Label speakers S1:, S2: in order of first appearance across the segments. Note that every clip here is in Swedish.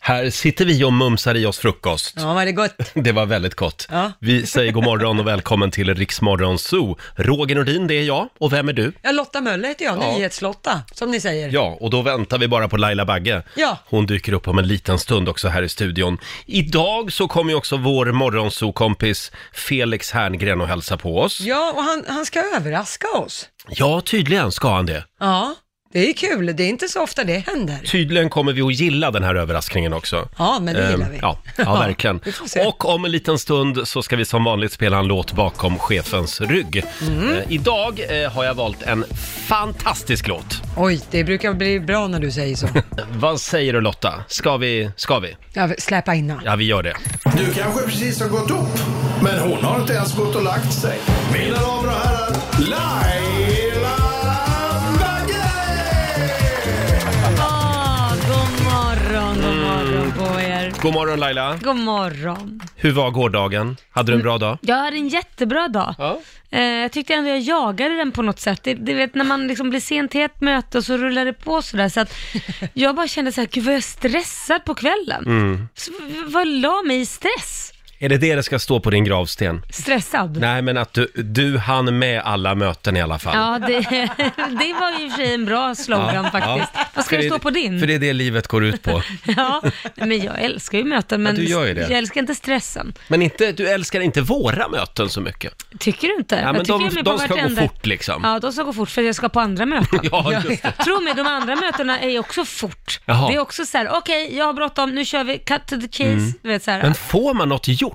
S1: Här sitter vi och mumsar i oss frukost.
S2: Ja, var det gott?
S1: Det var väldigt gott.
S2: Ja.
S1: Vi säger god morgon och välkommen till Riksmorgon Zoo. Roger Nordin, det är jag. Och vem är du?
S2: Ja, Lotta Möller heter jag,
S1: Ja.
S2: Nyhetslotta, som ni säger.
S1: Ja, och då väntar vi bara på Laila Bagge.
S2: Ja.
S1: Hon dyker upp om en liten stund också här i studion. Idag så kommer ju också vår morgonsokompis Felix Herngren och hälsa på oss.
S2: Ja, och han, han ska överraska oss.
S1: Ja, tydligen ska han det.
S2: Ja, det är kul. Det är inte så ofta det händer.
S1: Tydligen kommer vi att gilla den här överraskningen också.
S2: Ja, men det gillar
S1: Ehm,
S2: vi.
S1: Ja, ja verkligen.
S2: vi får se.
S1: Och om en liten stund så ska vi som vanligt spela en låt bakom chefens rygg. Eh, idag eh, har jag valt en fantastisk låt.
S2: Oj, det brukar bli bra när du säger så.
S1: Vad säger du Lotta? Ska vi? Ska vi?
S2: Ja, släpa in han.
S1: Ja, vi gör det.
S3: Du kanske precis har gått upp, men hon har inte ens gått och lagt sig. Mina damer och herrar, Laila Bagge!
S4: Ah, god morgon,
S1: Mm.
S4: god morgon på er.
S1: God morgon Laila.
S4: God morgon.
S1: Hur var gårdagen? Hade du en bra dag?
S4: Jag hade en jättebra dag.
S1: Ja.
S4: Eh, jag tyckte ändå jag jagade den på något sätt. Det, det vet när man liksom blir sent till ett möte och så rullar det på sådär. Så att jag bara kände såhär, gud vad jag är stressad på kvällen.
S1: Mm.
S4: Så, v- vad la mig i stress?
S1: Är det det det ska stå på din gravsten?
S4: Stressad?
S1: Nej, men att du, du hann med alla möten i alla fall.
S4: Ja, det, det var ju i och för sig en bra slogan faktiskt. Vad ska
S1: För
S4: det stå på din?
S1: För det är det livet går ut på.
S4: Ja, nej, men jag älskar ju möten, men
S1: Ja, du gör ju det.
S4: jag älskar inte stressen.
S1: Men inte, du älskar inte våra möten så mycket.
S4: Tycker du inte?
S1: Ja, men
S4: jag tycker
S1: de-
S4: jag är med
S1: de
S4: på
S1: ska gå
S4: vartenda-
S1: fort, liksom.
S4: Ja, de ska gå fort för jag ska på andra möten.
S1: Ja, just det.
S4: Tro mig, de andra mötena är ju också fort.
S1: Jaha.
S4: Det är också så här: okej, jag har bråttom, nu kör vi, cut to the chase. Du vet så här,
S1: Mm. Men får man något gjort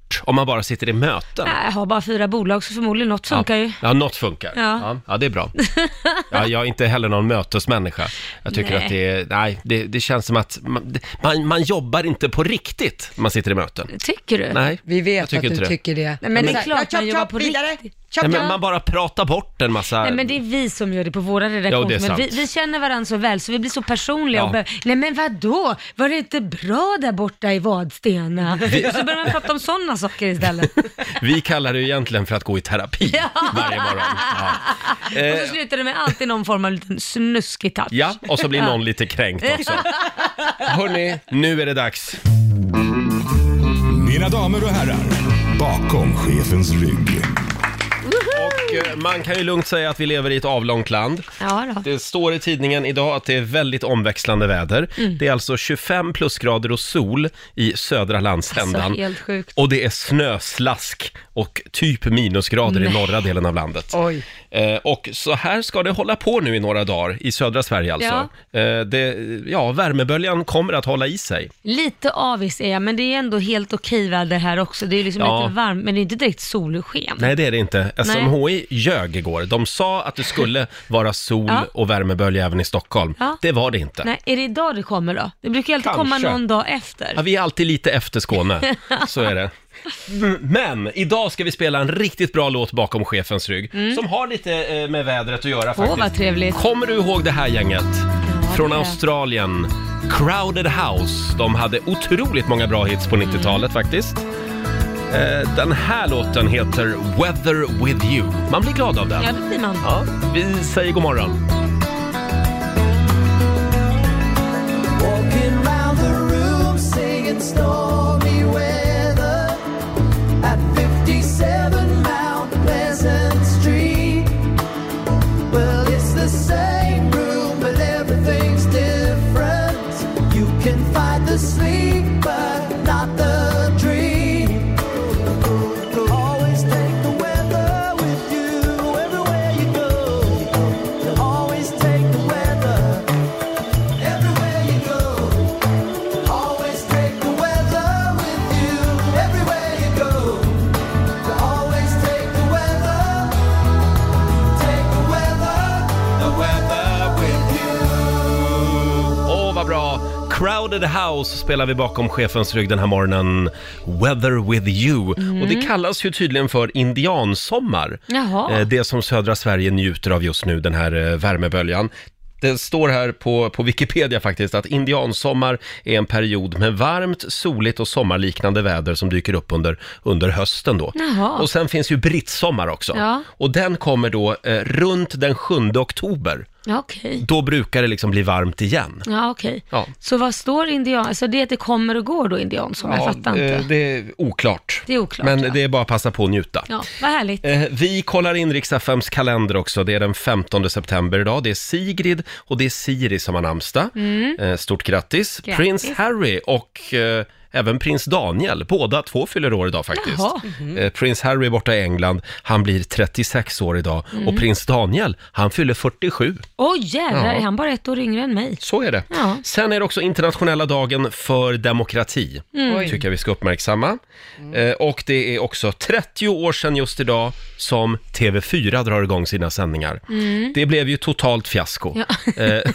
S1: om man bara sitter i möten?
S4: nej, jag har bara fyra bolag så förmodligen något funkar ju.
S1: Ja, något funkar. Ja.
S4: Ja.
S1: Ja, det är bra. Ja, jag är inte heller någon mötesmänniska. Jag tycker
S4: Nej.
S1: att det är, nej, det, det känns som att man, man, man jobbar inte på riktigt när man sitter i möten.
S4: Tycker du?
S1: Nej,
S2: Vi
S1: jag
S2: vet att
S1: tycker
S2: du
S1: inte det.
S2: tycker det.
S4: Nej, men det
S2: Så
S4: är
S2: här,
S4: klart,
S2: chop,
S4: man jobbar
S2: chop,
S4: på
S2: vidare.
S4: riktigt.
S2: Chop,
S1: Nej, men
S2: chop.
S1: man bara pratar bort en massa...
S4: Nej men det är vi som gör det på våra
S1: Ja, det är
S4: redaktioner.
S1: sant.
S4: vi, vi känner varandra så väl så vi blir så personliga.
S1: Ja.
S4: Och behöver, Nej men vadå? Var det inte bra där borta i Vadstena? Och så börjar man prata om sådana saker istället.
S1: Vi kallar det ju egentligen för att gå i terapi varje morgon. Ja.
S4: Och så slutar det med alltid någon form av liten snuskig touch.
S1: Eh, ja, och så blir någon lite kränkt också. Hörni, nu är det dags.
S3: Mina damer och herrar, bakom chefens rygg.
S1: Och eh, man kan ju lugnt säga att vi lever i ett avlångt land.
S4: Ja då.
S1: Det står i tidningen idag att det är väldigt omväxlande väder.
S4: Mm.
S1: Det är alltså 25 plusgrader och sol i södra landsändan.
S4: Alltså, helt sjukt.
S1: Och det är snöslask och typ minusgrader i norra delen av landet.
S2: Oj.
S1: Eh, och så här ska det hålla på nu i några dagar, i södra Sverige alltså. Eh, det, ja, värmeböljan kommer att hålla i sig.
S4: Lite avis är jag, men det är ändå helt okej väder här också. Det är ju liksom
S1: Ja.
S4: lite varmt, men det är inte direkt solsken.
S1: Nej, det är det inte. SMHI ljög igår. De sa att det skulle vara sol
S4: Ja.
S1: och värmebölja även i Stockholm.
S4: Ja.
S1: Det var det inte.
S4: Nej, är det idag det kommer då? Det brukar ju alltid
S1: Kanske.
S4: komma någon dag
S1: Ja,
S4: efter.
S1: vi är alltid lite efter Skåne, så är det. M- Men idag ska vi spela en riktigt bra låt bakom chefens rygg, som har lite eh, med vädret att göra
S4: Mm. Åh,
S1: faktiskt.
S4: vad trevligt.
S1: Kommer du ihåg det här gänget? Från
S4: det gör jag.
S1: Australien. Crowded House. De hade otroligt många bra hits
S4: Mm.
S1: på 90-talet faktiskt. Eh, Den här låten heter Weather With You. Man blir glad av den.
S4: Ja, det blir man.
S1: Ja, vi säger god morgon.
S5: Walking round the room singing stormy weather at 57 Mount Pleasant Street. Well, it's the same room, but everything's different. You can find the sleep, but not the dream. Always take the weather with you everywhere you go. You always take the weather. Everywhere you go, always take the weather with you. Everywhere you go, you always take the weather, take the weather, the weather with you.
S1: Åh, vad bra! Crowded House spelar vi bakom chefens rygg den här morgonen. Weather with you.
S4: Mm.
S1: Och det kallas ju tydligen för indiansommar.
S4: Jaha.
S1: Eh, Det som södra Sverige njuter av just nu, den här eh, värmeböljan. Det står här på, på Wikipedia faktiskt att indiansommar är en period med varmt, soligt och sommarliknande väder som dyker upp under, under hösten då.
S4: Jaha.
S1: Och sen finns ju brittsommar också.
S4: Ja.
S1: Och den kommer då eh, runt den 7 oktober.
S4: Ja, okej.
S1: Då brukar det liksom bli varmt igen.
S4: Ja, okej.
S1: Ja.
S4: Så vad står indian? Alltså det är att det kommer och går då, indiansommar? jag fattar
S1: eh,
S4: inte.
S1: det är oklart.
S4: Det är oklart,
S1: Men
S4: ja.
S1: det är bara att passa på och njuta.
S4: Ja, vad härligt.
S1: Eh, Vi kollar in Riks-FMs kalender också. Det är den 15 september idag. Det är Sigrid och det är Siri som har namnsdag. Eh, Stort grattis.
S4: Mm. Grattis.
S1: Prins Harry och eh, även prins Daniel, båda två fyller år idag faktiskt.
S4: Jaha.
S1: Eh, Prins Harry borta i England, han blir 36 år idag.
S4: Mm.
S1: Och prins Daniel, han fyller 47.
S4: Åh jävlar,
S1: Ja.
S4: är han bara ett år yngre än mig?
S1: Så är det.
S4: Ja.
S1: Sen är det också internationella dagen för demokrati.
S2: Oj.
S1: Tycker jag vi ska uppmärksamma. Eh, och det är också 30 år sedan just idag som TV4 drar igång sina sändningar. Det blev ju totalt fiasko. Eh,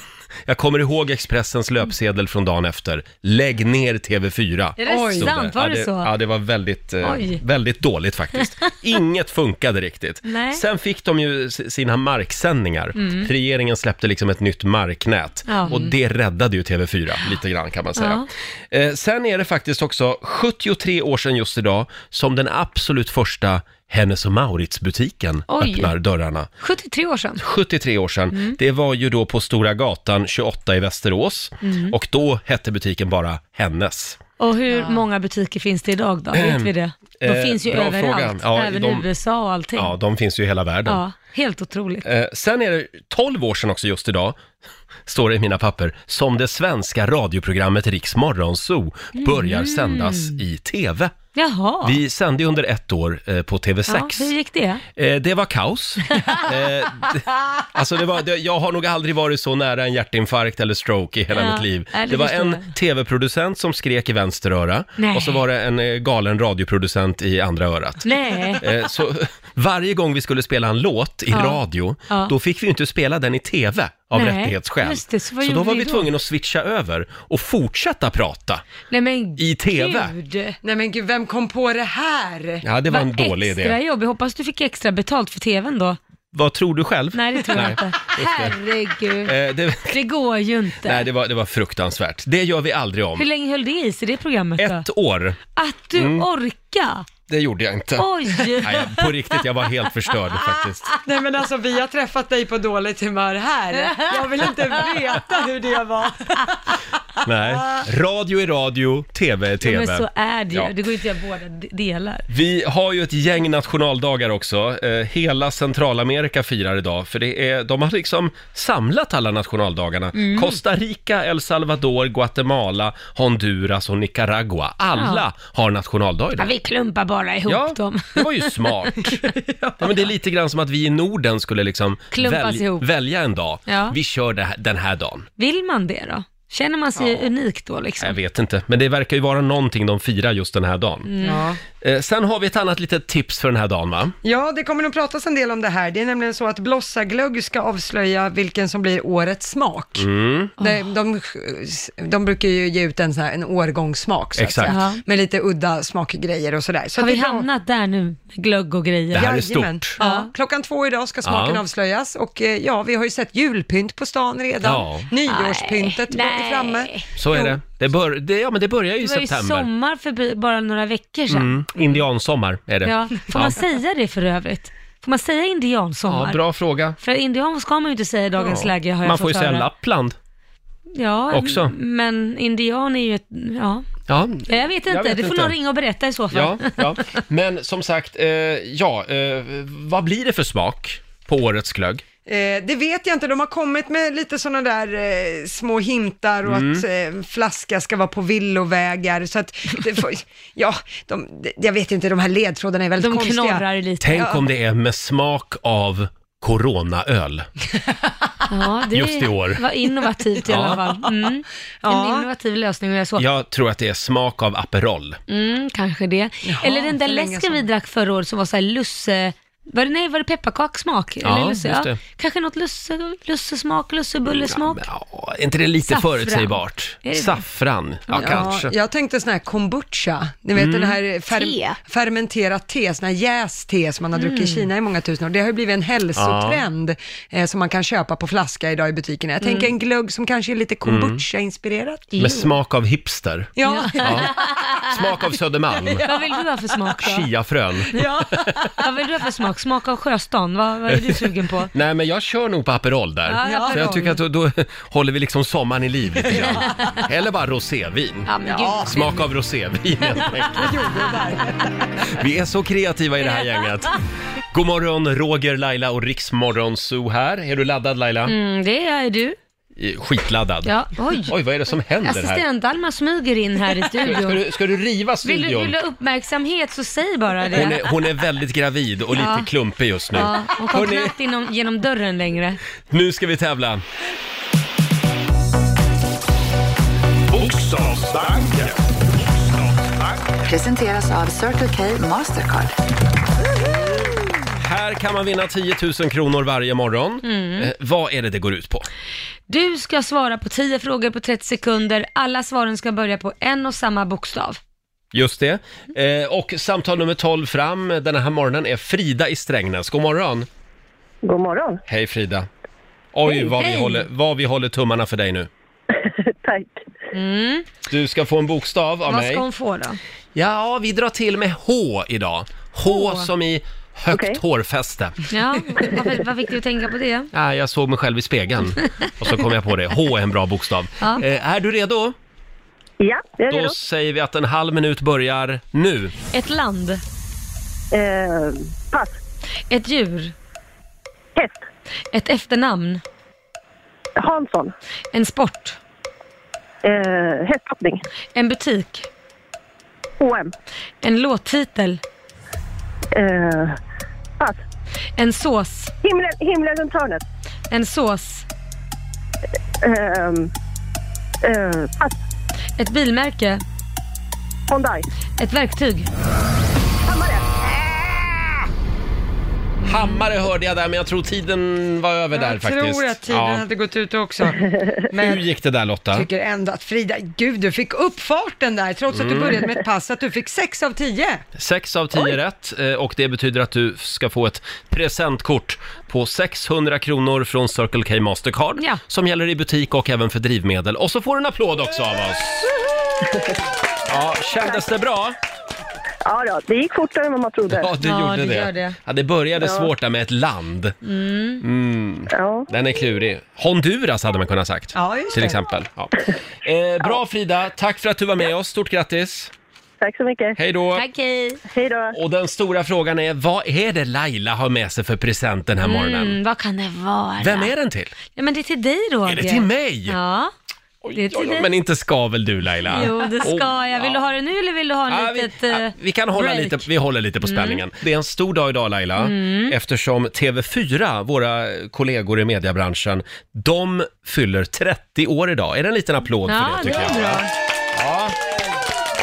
S1: jag kommer ihåg Expressens löpsedel från dagen efter. Lägg ner TV4.
S4: Är det
S1: stod
S4: sant? Var
S1: ja,
S4: det så?
S1: Ja, det var väldigt, eh,
S4: Oj.
S1: väldigt dåligt faktiskt. Inget funkade riktigt.
S4: Nej. Mm.
S1: Sen fick de ju s- sina marksändningar. Regeringen släppte liksom ett nytt marknät
S4: Ja. Mm.
S1: och det räddade ju TV4 lite grann kan man säga. Eh, sen är det faktiskt också 73 år sedan just idag som den absolut första Hennes och Mauritz-butiken
S4: Oj. Mm.
S1: öppnar dörrarna.
S4: 73 år sedan.
S1: 73 år sedan. Det var ju då på Stora Gatan 28 i Västerås
S4: Mm.
S1: och då hette butiken bara Hennes.
S4: Och hur många butiker finns det idag då? Vet vi det? De
S1: eh,
S4: finns ju
S1: bra
S4: överallt,
S1: fråga. Ja,
S4: även
S1: de-
S4: i USA och allting.
S1: Ja,
S4: Ja,
S1: de finns ju i hela världen.
S4: helt otroligt.
S1: Eh, sen är det 12 år sedan också just idag, står det i mina papper, som det svenska radioprogrammet Riks Morgonzoo
S4: Mm.
S1: börjar sändas i TV.
S4: Jaha,
S1: Vi sände ju under ett år eh, på
S4: ja,
S1: TV6.
S4: hur gick det?
S1: Eh, det var kaos. eh, d- alltså det var, det, jag har nog aldrig varit så nära en hjärtinfarkt eller stroke i hela
S4: Ja,
S1: mitt liv.
S4: nej, det
S1: Det var
S4: förstår
S1: en
S4: jag.
S1: TV-producent som skrek i vänster öra
S4: Nej.
S1: och så var det en eh, galen radioproducent i andra örat.
S4: Nej,
S1: Eh, Så varje gång vi skulle spela en låt i
S4: Ja.
S1: radio,
S4: Ja.
S1: då fick vi ju inte spela den i TV av
S4: Nej,
S1: rättighetsskäl.
S4: just det, så vad
S1: då
S4: gjorde
S1: var
S4: vi
S1: vi
S4: då?
S1: tvungna att switcha över och fortsätta prata.
S4: nej men
S1: I TV.
S4: Gud.
S2: Nej men gud, vem kom på det här?
S1: Ja, det var en
S4: Vad
S1: dålig
S4: extra
S1: idé.
S4: jobb. Jag hoppas du fick extra betalt för TVn då.
S1: Vad tror du själv?
S4: Nej, det tror jag
S1: Nej,
S4: inte. Herregud.
S1: Eh, det,
S4: Det går ju inte.
S1: nej det, var, det var fruktansvärt. Det gör vi aldrig
S4: Hur
S1: om.
S4: länge höll det i sig, det programmet då?
S1: Ett år,
S4: Att du orkar!
S1: det gjorde jag inte.
S4: Oj!
S1: Nej, jag- på riktigt, jag var helt förstörd faktiskt.
S2: Nej men alltså vi har träffat dig på dåligt humör här. Jag vill inte veta hur det var.
S1: Nej. Radio är radio, TV är
S4: Ja,
S1: TV.
S4: men så är det ju.
S1: Ja.
S4: Det går ju inte att göra båda de- delar.
S1: Vi har ju ett gäng nationaldagar också. Eh, hela Centralamerika firar idag, för det är, de har liksom samlat alla nationaldagarna.
S4: Mm.
S1: Costa Rica, El Salvador, Guatemala, Honduras och Nicaragua. Alla har nationaldag
S4: Ja,
S1: idag.
S4: vi klumpar bara ihop dem.
S1: det var ju smart. ja. men det är lite grann som att vi i Norden skulle liksom
S4: Klumpas ihop.
S1: välja en dag.
S4: Ja.
S1: Vi kör det här, den här dagen.
S4: Vill man det då? Känner man sig unik då
S1: Jag
S4: liksom?
S1: vet inte, men det verkar ju vara någonting de firar just den här dagen.
S4: Mm.
S2: Ja.
S1: Eh, sen har vi ett annat litet tips för den här dagen, va?
S2: ja, det kommer nog pratas en del om det här. Det är nämligen så att Blossaglögg ska avslöja vilken som blir årets smak.
S1: Mm.
S2: De, de, de brukar ju ge ut en, sån här, en årgångssmak så att
S1: Exakt.
S2: säga.
S4: Ja.
S2: Med lite udda smakgrejer och sådär. Så
S4: Har
S2: att
S4: vi
S2: det är bra.
S4: hamnat där nu med glögg och
S1: Det
S4: grejer?
S1: här är
S2: Jajamän.
S1: stort.
S2: Ja. Klockan två idag ska smaken
S1: Ja.
S2: avslöjas och eh, ja, vi har ju sett julpynt på stan redan.
S1: Ja.
S2: Nyårspyntet är
S4: Nej.
S2: framme.
S1: Så är det. Det, bör, det, ja, men det börjar ju i
S4: Det var ju
S1: september.
S4: sommar för bi- bara några veckor sedan.
S1: Mm, indiansommar är det.
S4: Ja. Får man säga det för övrigt? Får man säga indiansommar?
S1: ja, bra fråga.
S4: För indian ska man ju inte säga i dagens läge har jag
S1: Man får ju
S4: fått
S1: säga
S4: höra.
S1: Lappland.
S4: Ja,
S1: också.
S4: men indian är ju ett, ja.
S1: Ja.
S4: Jag vet inte,
S1: Jag vet
S4: det får
S1: inte.
S4: någon ringa och berätta i så fall.
S1: Ja, ja. Men som sagt, eh, ja, eh, vad blir det för smak på årets glögg?
S2: Eh, det vet jag inte, de har kommit med lite sådana där eh, små hintar och
S1: Mm.
S2: att eh, flaska ska vara på villovägar. Så att, det får, ja, de, det- jag vet inte, de här ledtrådarna är väldigt
S4: De
S2: konstiga.
S4: knorrar lite.
S1: Tänk om det är med smak av coronaöl.
S4: Ja, det
S1: Just i år.
S4: var innovativt i
S1: Ja.
S4: alla fall. Mm.
S2: Ja.
S4: En innovativ lösning och jag så.
S1: Jag tror att det är smak av Aperol.
S4: Mm, kanske det. Eller den där
S2: så länge
S4: läsken
S2: som-
S4: vi drack förra året som var så här lusse... Var det, nej, var det pepparkakssmak?
S1: Ja,
S4: Eller lusse?
S1: just det.
S4: Kanske något lusse, lussesmak,
S1: Ja,
S4: lussebullesmak?
S1: men, ja, är inte det lite
S4: Saffran.
S1: förutsägbart?
S4: Är det det?
S1: Saffran, ja, kanske. Mm.
S2: Jag tänkte sån här kombucha, ni vet den här fer
S4: Te. Mm.
S2: fermenterat te, sån här jäst te som man har druckit i Kina i många tusen år. Det har ju blivit en hälsotrend eh, som man kan köpa på flaska idag i butikerna. Jag
S4: Mm.
S2: tänker en glögg som kanske är lite kombucha-inspirerat.
S1: Med smak av hipster.
S2: Ja.
S1: Ja. Smak av Södermalm.
S4: Vad vill du ha för smak då?
S1: Chiafrön.
S4: Ja. Vad vill du ha för smak? Smak av Sjöstan? Vad, vad är du sugen på?
S1: Nej, men jag kör nog på Aperol där.
S4: Ja, ja,
S1: Så jag
S4: Aperol.
S1: tycker att då, då håller vi liksom sommaren i liv lite grann. Eller bara rosévin.
S4: Ja, men gud.
S1: Smak av rosévin helt enkelt. Vi är så kreativa i det här gänget. God morgon, Roger, Laila och Riksmorgon Zoo här. Är du laddad Laila?
S4: Mm, det är du.
S1: Eh, Skitladdad.
S4: Ja, oj.
S1: Oj, vad är det som händer här?
S4: Assistent-Alma smyger in här i
S1: Ska
S4: studion.
S1: du, ska du riva
S4: Vill du,
S1: studion?
S4: vill du ha uppmärksamhet så säg bara
S1: Hon
S4: det.
S1: är, hon är väldigt gravid och lite
S4: Ja.
S1: klumpig just nu.
S4: Ja, hon kom
S1: Hörrni,
S4: knappt inom, genom dörren längre.
S1: nu ska vi tävla.
S3: Bokstavsbanken.
S6: Presenteras av Circle K Mastercard.
S1: Här kan man vinna 10 000 kronor varje morgon.
S4: Mm.
S1: Eh, vad är det det går ut på?
S4: Du ska svara på 10 frågor på 30 sekunder. Alla svaren ska börja på en och samma bokstav.
S1: Just det. Eh, och samtal nummer 12 fram den här morgonen är Frida i Strängnäs. God morgon!
S7: God morgon.
S1: Hej Frida! Oj, vad, vi
S4: hej.
S1: håller, vad vi håller tummarna för dig nu.
S7: Tack.
S1: Du ska få en bokstav av
S4: Vad
S1: mig.
S4: ska hon få då?
S1: Ja, vi drar till med H idag. H, som i högt
S7: Okej.
S1: hårfäste.
S4: Ja, varför, vad fick du att tänka på det?
S1: Ah, jag såg mig själv i spegeln och så kom jag på det. H är en bra bokstav.
S4: Ja.
S1: Eh, är du redo?
S7: Ja, jag är
S1: Då
S7: redo.
S1: säger vi att en halv minut börjar nu.
S4: Ett land,
S7: Eh, pass.
S4: ett djur,
S7: Häst.
S4: ett efternamn,
S7: Hansson.
S4: en sport,
S7: Eh, hästhoppning.
S4: en butik,
S7: H&M.
S4: en låttitel,
S7: Eh, pass.
S4: en sås,
S7: Himlen, himlen runt hörnet.
S4: en sås,
S7: Eh, eh, pass.
S4: ett bilmärke,
S7: Hyundai.
S4: ett verktyg.
S7: Hammare.
S1: Hammare hörde jag där, men jag tror tiden var över där
S2: jag
S1: faktiskt.
S2: tror att tiden
S1: Ja.
S2: hade gått ut också.
S1: Hur
S2: Men
S1: gick det där Lotta?
S2: jag tycker ändå att Frida, gud du fick upp farten där trots
S1: Mm.
S2: att du började med ett pass, att du fick 6 av 10.
S1: Sex av tio rätt eh, och det betyder att du ska få ett presentkort på 600 kronor från Circle K Mastercard
S4: Ja.
S1: som gäller i butik och även för drivmedel. Och så får du en applåd också av oss! Ja, kändes det bra?
S7: Ja, då, det gick fortare än vad man trodde.
S1: Ja, du
S4: Ja,
S1: gjorde
S4: det
S1: det.
S4: gör det.
S1: Ja, det började svårt där med ett land.
S7: Ja.
S1: Den är klurig. Honduras hade man kunnat sagt.
S2: Ja, just
S1: till
S2: det.
S1: exempel. Ja. Eh, bra Frida, tack för att du var med oss. Stort grattis!
S7: Tack så mycket.
S1: Hej då!
S4: Tack, hej.
S7: Hej då.
S1: Och den stora frågan är, vad är det Laila har med sig för present den här morgonen?
S4: Mm, vad kan det vara?
S1: Vem är den till?
S4: Ja, men det är till dig Roger.
S1: Är det till mig?
S4: Ja. Det är
S1: Oj,
S4: till
S1: oj, oj,
S4: dig.
S1: men inte ska väl du Laila?
S4: Jo, det ska
S1: Oh,
S4: jag. Vill du
S1: ja.
S4: ha det nu eller vill du ha en
S1: Ja, vi,
S4: litet
S1: ja,
S4: eh,
S1: vi kan hålla
S4: break? Mm.
S1: lite, vi håller lite på spänningen. Det är en stor dag idag Laila, eftersom TV4, våra kollegor i mediebranschen, de fyller 30 år idag. Är det en liten applåd
S4: Ja,
S1: för det
S4: det
S1: tycker jag?
S4: är bra.
S1: Ja.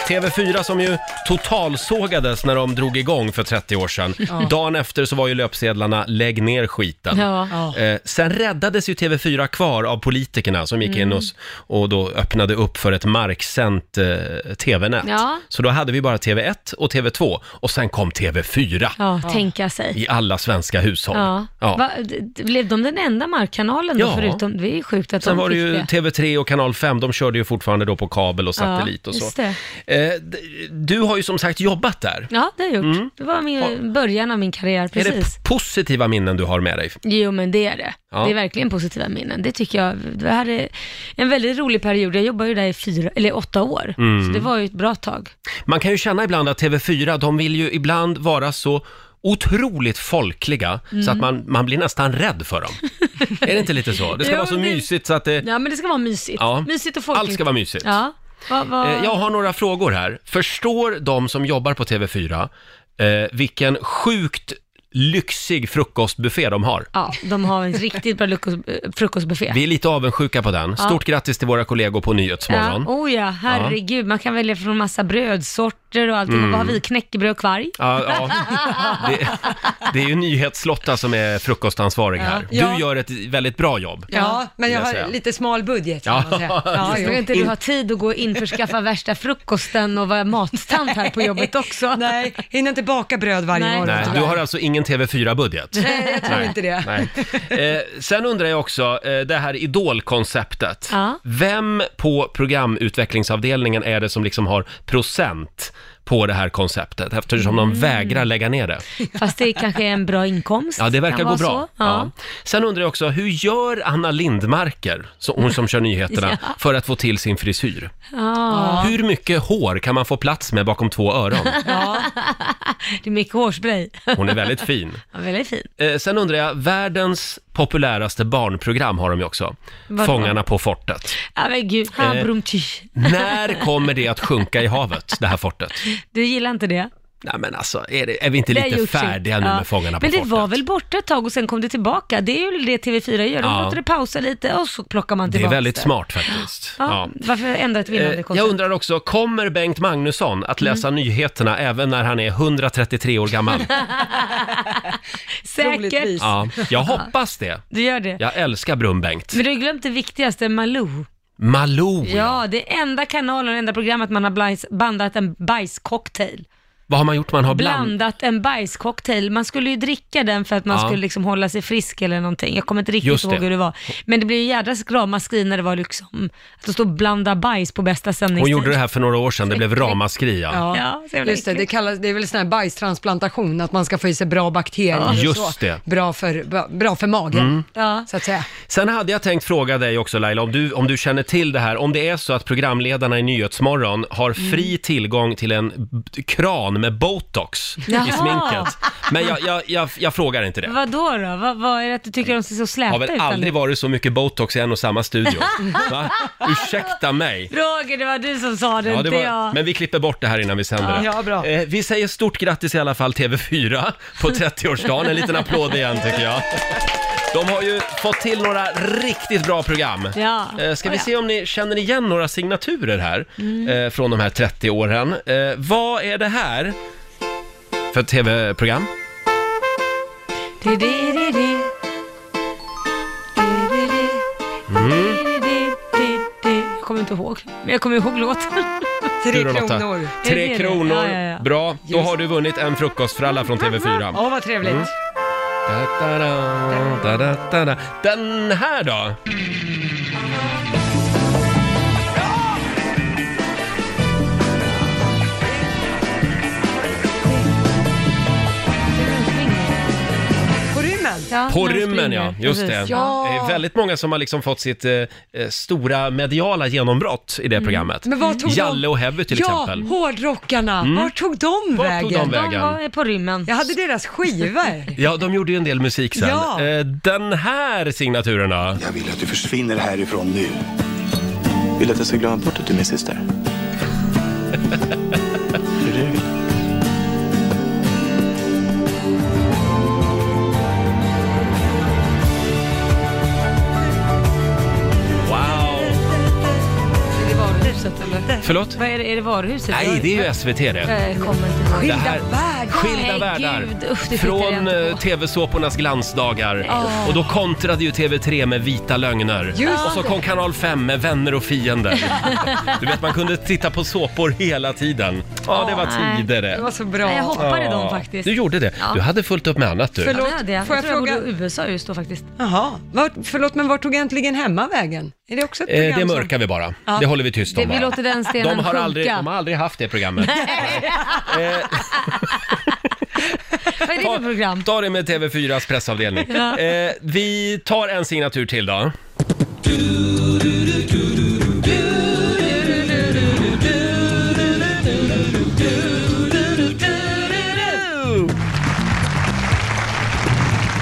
S1: TV4 som ju totalsågades när de drog igång för 30 år sedan. Dagen efter så var ju löpsedlarna “Lägg ner skiten”.
S4: Ja.
S1: Eh, sen räddades ju TV4 kvar av politikerna som gick
S4: Mm.
S1: in och, s- och då öppnade upp för ett marksänt eh, TV-nät.
S4: Ja.
S1: Så då hade vi bara TV1 och TV2 och sen kom TV4
S4: Ja, tänka sig.
S1: i alla svenska hushåll.
S4: Ja.
S1: Ja.
S4: Va, d- d- blev de den enda markkanalen då
S1: Ja.
S4: förutom, det är ju sjukt att
S1: Sen
S4: de
S1: var det
S4: fick
S1: ju
S4: det.
S1: TV3 och Kanal 5, de körde ju fortfarande då på kabel och satellit och så.
S4: just det.
S1: Eh, d- du har ju som sagt jobbat där.
S4: Ja, det har jag gjort. Det var min, början av min karriär,
S1: Mm. Är det
S4: precis.
S1: p- positiva minnen du har med dig?
S4: Jo, men det är det.
S1: Ja.
S4: Det är verkligen positiva minnen. Det tycker jag. Det här är en väldigt rolig period. Jag jobbade ju där i fyra, eller åtta år,
S1: Mm.
S4: så det var ju ett bra tag.
S1: Man kan ju känna ibland att TV4, de vill ju ibland vara så otroligt folkliga så
S4: Mm.
S1: att man, man blir nästan rädd för dem. är det inte lite så? Det ska
S4: Jo,
S1: vara så
S4: det-
S1: mysigt så att det...
S4: Ja, men det ska vara mysigt.
S1: Ja.
S4: Mysigt och folkligt.
S1: Allt ska vara mysigt.
S4: Ja. Va, va...
S1: Eh, Jag har några frågor här. Förstår de som jobbar på TV4 eh, vilken sjukt lyxig frukostbuffé de har?
S4: ja, de har en riktigt bra lukos- frukostbuffé.
S1: Vi är lite avundsjuka på den. Stort grattis till våra kollegor på Nyhetsmorgon.
S4: Ja, oh ja, herregud. Man kan välja från massa brödsorter och allting.
S1: Mm.
S4: Vad har vi? Knäckebröd och kvarg?
S1: Ja, ja. Det, det är ju NyhetsLotta som är frukostansvarig här.
S2: Ja.
S1: Du gör ett väldigt bra jobb.
S2: Ja, men jag
S1: jag säga.
S2: har lite smal budget kan
S1: Ja.
S2: man säga. Ja,
S4: Ska
S2: jo.
S4: inte du ha tid att gå in förskaffa värsta frukosten och vara mattant här på jobbet också?
S2: Nej, hinner inte baka bröd varje
S4: Nej.
S2: morgon.
S1: Nej, du har alltså ingen ingen TV4-budget.
S2: Nej, jag tror inte det.
S1: Nej. Eh, sen undrar jag också, eh, det här idolkonceptet.
S4: Ja.
S1: Vem på programutvecklingsavdelningen är det som liksom har procent på det här konceptet eftersom
S2: Mm.
S1: de vägrar lägga ner det?
S4: Fast det kanske är en bra inkomst.
S1: Ja, det verkar
S4: Kan
S1: gå
S4: vara
S1: bra.
S4: så.
S1: Ja. Sen undrar jag också, hur gör Anna Lindmarker, så, hon som kör nyheterna, för att få till sin frisyr?
S4: Ja.
S1: Hur mycket hår kan man få plats med bakom två öron?
S4: Det är mycket hårspray.
S1: Hon är väldigt fin.
S4: Ja, väldigt fin.
S1: Eh, sen undrar jag, världens populäraste barnprogram har de ju också.
S4: Vadå?
S1: Fångarna på fortet.
S4: Ja, men gud.
S1: Eh.
S4: Habrumty.
S1: När kommer det att sjunka i havet, det här fortet?
S4: Du gillar inte det?
S1: Nej men alltså, är, det, är vi inte
S4: Det har
S1: lite
S4: gjort sitt.
S1: färdiga nu
S4: Ja.
S1: med Fångarna på
S4: Men det
S1: fortet?
S4: var väl borta ett tag och sen kom det tillbaka. Det är ju det TV4 gör. De
S1: Ja.
S4: låter det pausa lite och så plockar man
S1: det är
S4: tillbaka
S1: väldigt smart faktiskt.
S4: Ja.
S1: Ja.
S4: Varför ändra ett
S1: Eh,
S4: vinnande
S1: Jag
S4: koncept?
S1: undrar också, kommer Bengt Magnusson att
S4: Mm.
S1: läsa nyheterna även när han är 133 år gammal?
S4: Säkert.
S2: Troligtvis.
S1: Ja, jag hoppas det.
S4: Du gör det.
S1: Jag älskar Brunn-Bengt.
S4: Men du har glömt det viktigaste, Malou.
S1: Malou, Oh, ja.
S4: Ja, det är enda kanalen, enda programmet man har blands- bandat en bajscocktail.
S1: Vad har man gjort? Man har bland...
S4: Blandat en bajscocktail. Man skulle ju dricka den för att man
S1: Ja.
S4: skulle liksom hålla sig frisk eller någonting. Jag kommer inte
S1: Just
S4: riktigt ihåg
S1: det.
S4: hur det var. Men det blev ju jädra ramaskri när det var liksom, att de stod blanda bajs på bästa sändningstid.
S1: Hon gjorde det här för några år sedan, det blev ramaskri ja.
S2: Ja,
S4: Ja, så jävla
S2: just det. Det,
S4: äckligt.
S2: kallas, det är väl sån här bajstransplantation, att man ska få i sig bra bakterier. och
S1: just
S2: så.
S1: det. Mm.
S2: Bra för, bra, bra för magen,
S4: Ja.
S2: så att säga.
S1: Sen hade jag tänkt fråga dig också Laila, om du, om du känner till det här, om det är så att programledarna i Nyhetsmorgon har fri tillgång till en b- kran med botox i
S4: Jaha.
S1: sminket. Men jag, jag, jag, jag frågar inte det.
S4: Vad då? då? Vad, vad är det att du tycker de ser så
S1: Har
S4: släta ut?
S1: väl aldrig varit så mycket botox i en och samma studio. Va? Ursäkta mig.
S4: Roger, det var du som sa det,
S1: Ja, det
S4: inte
S1: var,
S4: jag.
S1: men vi klipper bort det här innan vi sänder det.
S2: Ja, bra.
S1: Eh, vi säger stort grattis i alla fall TV4 på 30-årsdagen. En liten applåd igen tycker jag. De har ju fått till några riktigt bra program.
S4: Ja.
S1: Eh, Ska vi
S4: Ja. Mm.
S1: se om ni känner igen några signaturer här eh, från de här 30 åren. Eh, Vad är det här för tv-program?
S4: Du, du, du, du. Du, du, du.
S1: Mm.
S4: Du, du, du, du. Jag kommer inte ihåg, men jag kommer ihåg låten.
S2: Tre
S1: Du då, Lotta?
S2: kronor.
S4: Är
S1: Tre
S4: det det?
S1: kronor.
S4: Ja, ja, ja.
S1: Bra, då
S2: Just.
S1: har du vunnit en frukostfralla från TV4.
S2: Åh, vad trevligt.
S1: Mm. Da-da-da, da-da-da-da. Den här då?
S2: På rymmen.
S4: Ja,
S1: På
S4: när de
S1: rymmen
S4: springer.
S1: ja, just det.
S4: Precis.
S2: Ja.
S1: Det är väldigt många som har liksom fått sitt eh, eh, stora mediala genombrott i det programmet.
S2: Men vad tog
S1: Jalle
S2: de?
S1: och Heavy till
S2: ja,
S1: exempel. Mm.
S2: hårdrockarna. Var tog de
S1: Vart
S2: vägen?
S1: tog de
S4: De
S1: vägen?
S4: var på rymmen.
S2: Jag hade deras skivor.
S1: Ja, de gjorde ju en del musik sen.
S2: Ja.
S1: Eh, den här signaturen då?
S8: Jag vill att du försvinner härifrån nu. Vill att jag ska glömma bort att du är min syster. Hur är det du vill?
S1: Wow!
S4: Är det varuhuset eller?
S1: Förlåt?
S4: Vad är det, är det varuhuset?
S1: Nej, det är ju SVT det.
S4: Jag eh, kommer inte ihåg.
S1: Det här, skilda
S4: Nej,
S1: världar.
S4: gud, usch, det tittar jag
S1: Från
S4: inte
S1: eh,
S4: på.
S1: TV-såpornas glansdagar. Och då kontrade ju TV3 med Vita lögner.
S2: Just
S1: och så kom Kanal 5 med Vänner och fiender. du vet, man kunde titta på såpor hela tiden. Ja, det var
S4: nej.
S1: tider det.
S2: Det var så
S4: Nej, jag
S2: bra.
S4: hoppade dem
S1: Ja,
S4: faktiskt.
S1: Du gjorde det. Du hade fullt upp med annat du.
S4: Ja, det
S2: Förlåt,
S4: hade jag. Jag
S2: får
S4: tror
S2: jag
S4: jag
S2: fråga-
S4: bodde i USA just då faktiskt.
S2: Jaha. Vart, förlåt, men vart tog äntligen hemma vägen? Är det också ett program
S1: Eh, det
S2: som-
S1: mörkar vi bara.
S2: Ja.
S1: Det håller vi tyst
S4: Det,
S1: om
S4: vi
S1: bara.
S4: låter den stenen
S1: De har,
S4: sjunka.
S1: aldrig, de har aldrig haft det programmet.
S4: Vad är det för program?
S1: Ta det med TV4s pressavdelning.
S4: Ja.
S1: Eh, vi tar en signatur till då.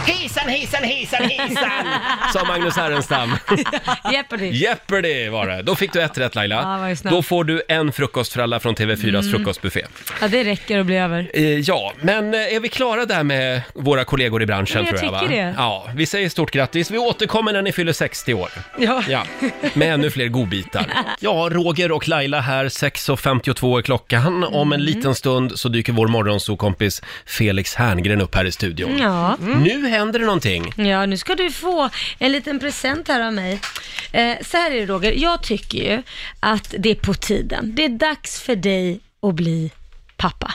S9: Hejsan, hejsan, hejsan, hejsan!
S1: Sa Magnus Härenstam.
S4: Jeopardy.
S1: Jeopardy var det. Då fick du ett rätt
S4: Ja,
S1: Laila.
S4: vad snabb.
S1: Då får du en frukostfralla från TV4s
S4: Mm.
S1: frukostbuffé.
S4: Ja, det räcker och bli över.
S1: Eh, ja, men eh, är vi klara där med våra kollegor i branschen
S4: Ja, jag
S1: tror jag va?
S4: tycker det.
S1: Ja, vi säger stort grattis. Vi återkommer när ni fyller 60 år.
S2: Ja.
S1: Ja, med ännu fler godbitar. Ja, Roger och Laila här, 6.52 är klockan. Om
S4: Mm.
S1: en liten stund så dyker vår morgonsokompis Felix Herngren upp här i studion.
S4: Ja. Mm.
S1: Nu händer det någonting.
S4: Ja, nu ska du få en liten present här av mig. Eh, så här är det Roger, jag tycker ju att det är på tiden. Det är dags för dig att bli pappa.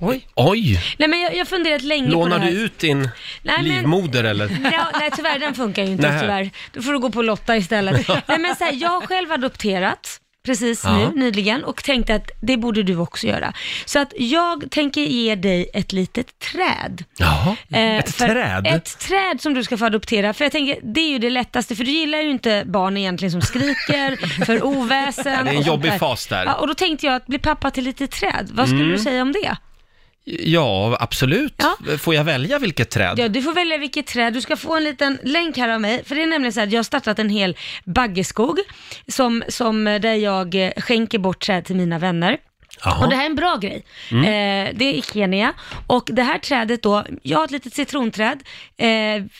S2: Oj.
S1: Oj!
S4: Nej men jag jag har funderat länge
S1: Lånar
S4: på det
S1: du
S4: här.
S1: ut din
S4: Nej, men-
S1: livmoder eller?
S4: Ja, nej tyvärr, den funkar ju inte
S1: Nähä.
S4: tyvärr. Då får du gå på Lotta istället. nej men så här, jag har själv adopterat precis
S1: Ja.
S4: nu nyligen och tänkte att det borde du också göra. Så att jag tänker ge dig ett litet träd.
S1: Jaha,
S4: Eh,
S1: ett
S4: för-
S1: träd?
S4: Ett träd som du ska få adoptera. För jag tänker, det är ju det lättaste, för du gillar ju inte barn egentligen som skriker, för oväsen.
S1: det är en
S4: och sånt
S1: jobbig fas där.
S4: Ja, och då tänkte jag att bli pappa till lite träd, vad skulle
S1: Mm.
S4: du säga om det?
S1: Ja, absolut.
S4: Ja.
S1: Får jag välja vilket träd?
S4: Ja, du får välja vilket träd. Du ska få en liten länk här av mig. För det är nämligen så här att jag har startat en hel baggeskog som, som eh, där jag eh, skänker bort träd till mina vänner.
S1: Jaha.
S4: Och det här är en bra grej.
S1: Mm.
S4: Eh, det är i Kenya. Och det här trädet då, jag har ett litet citronträd. Eh,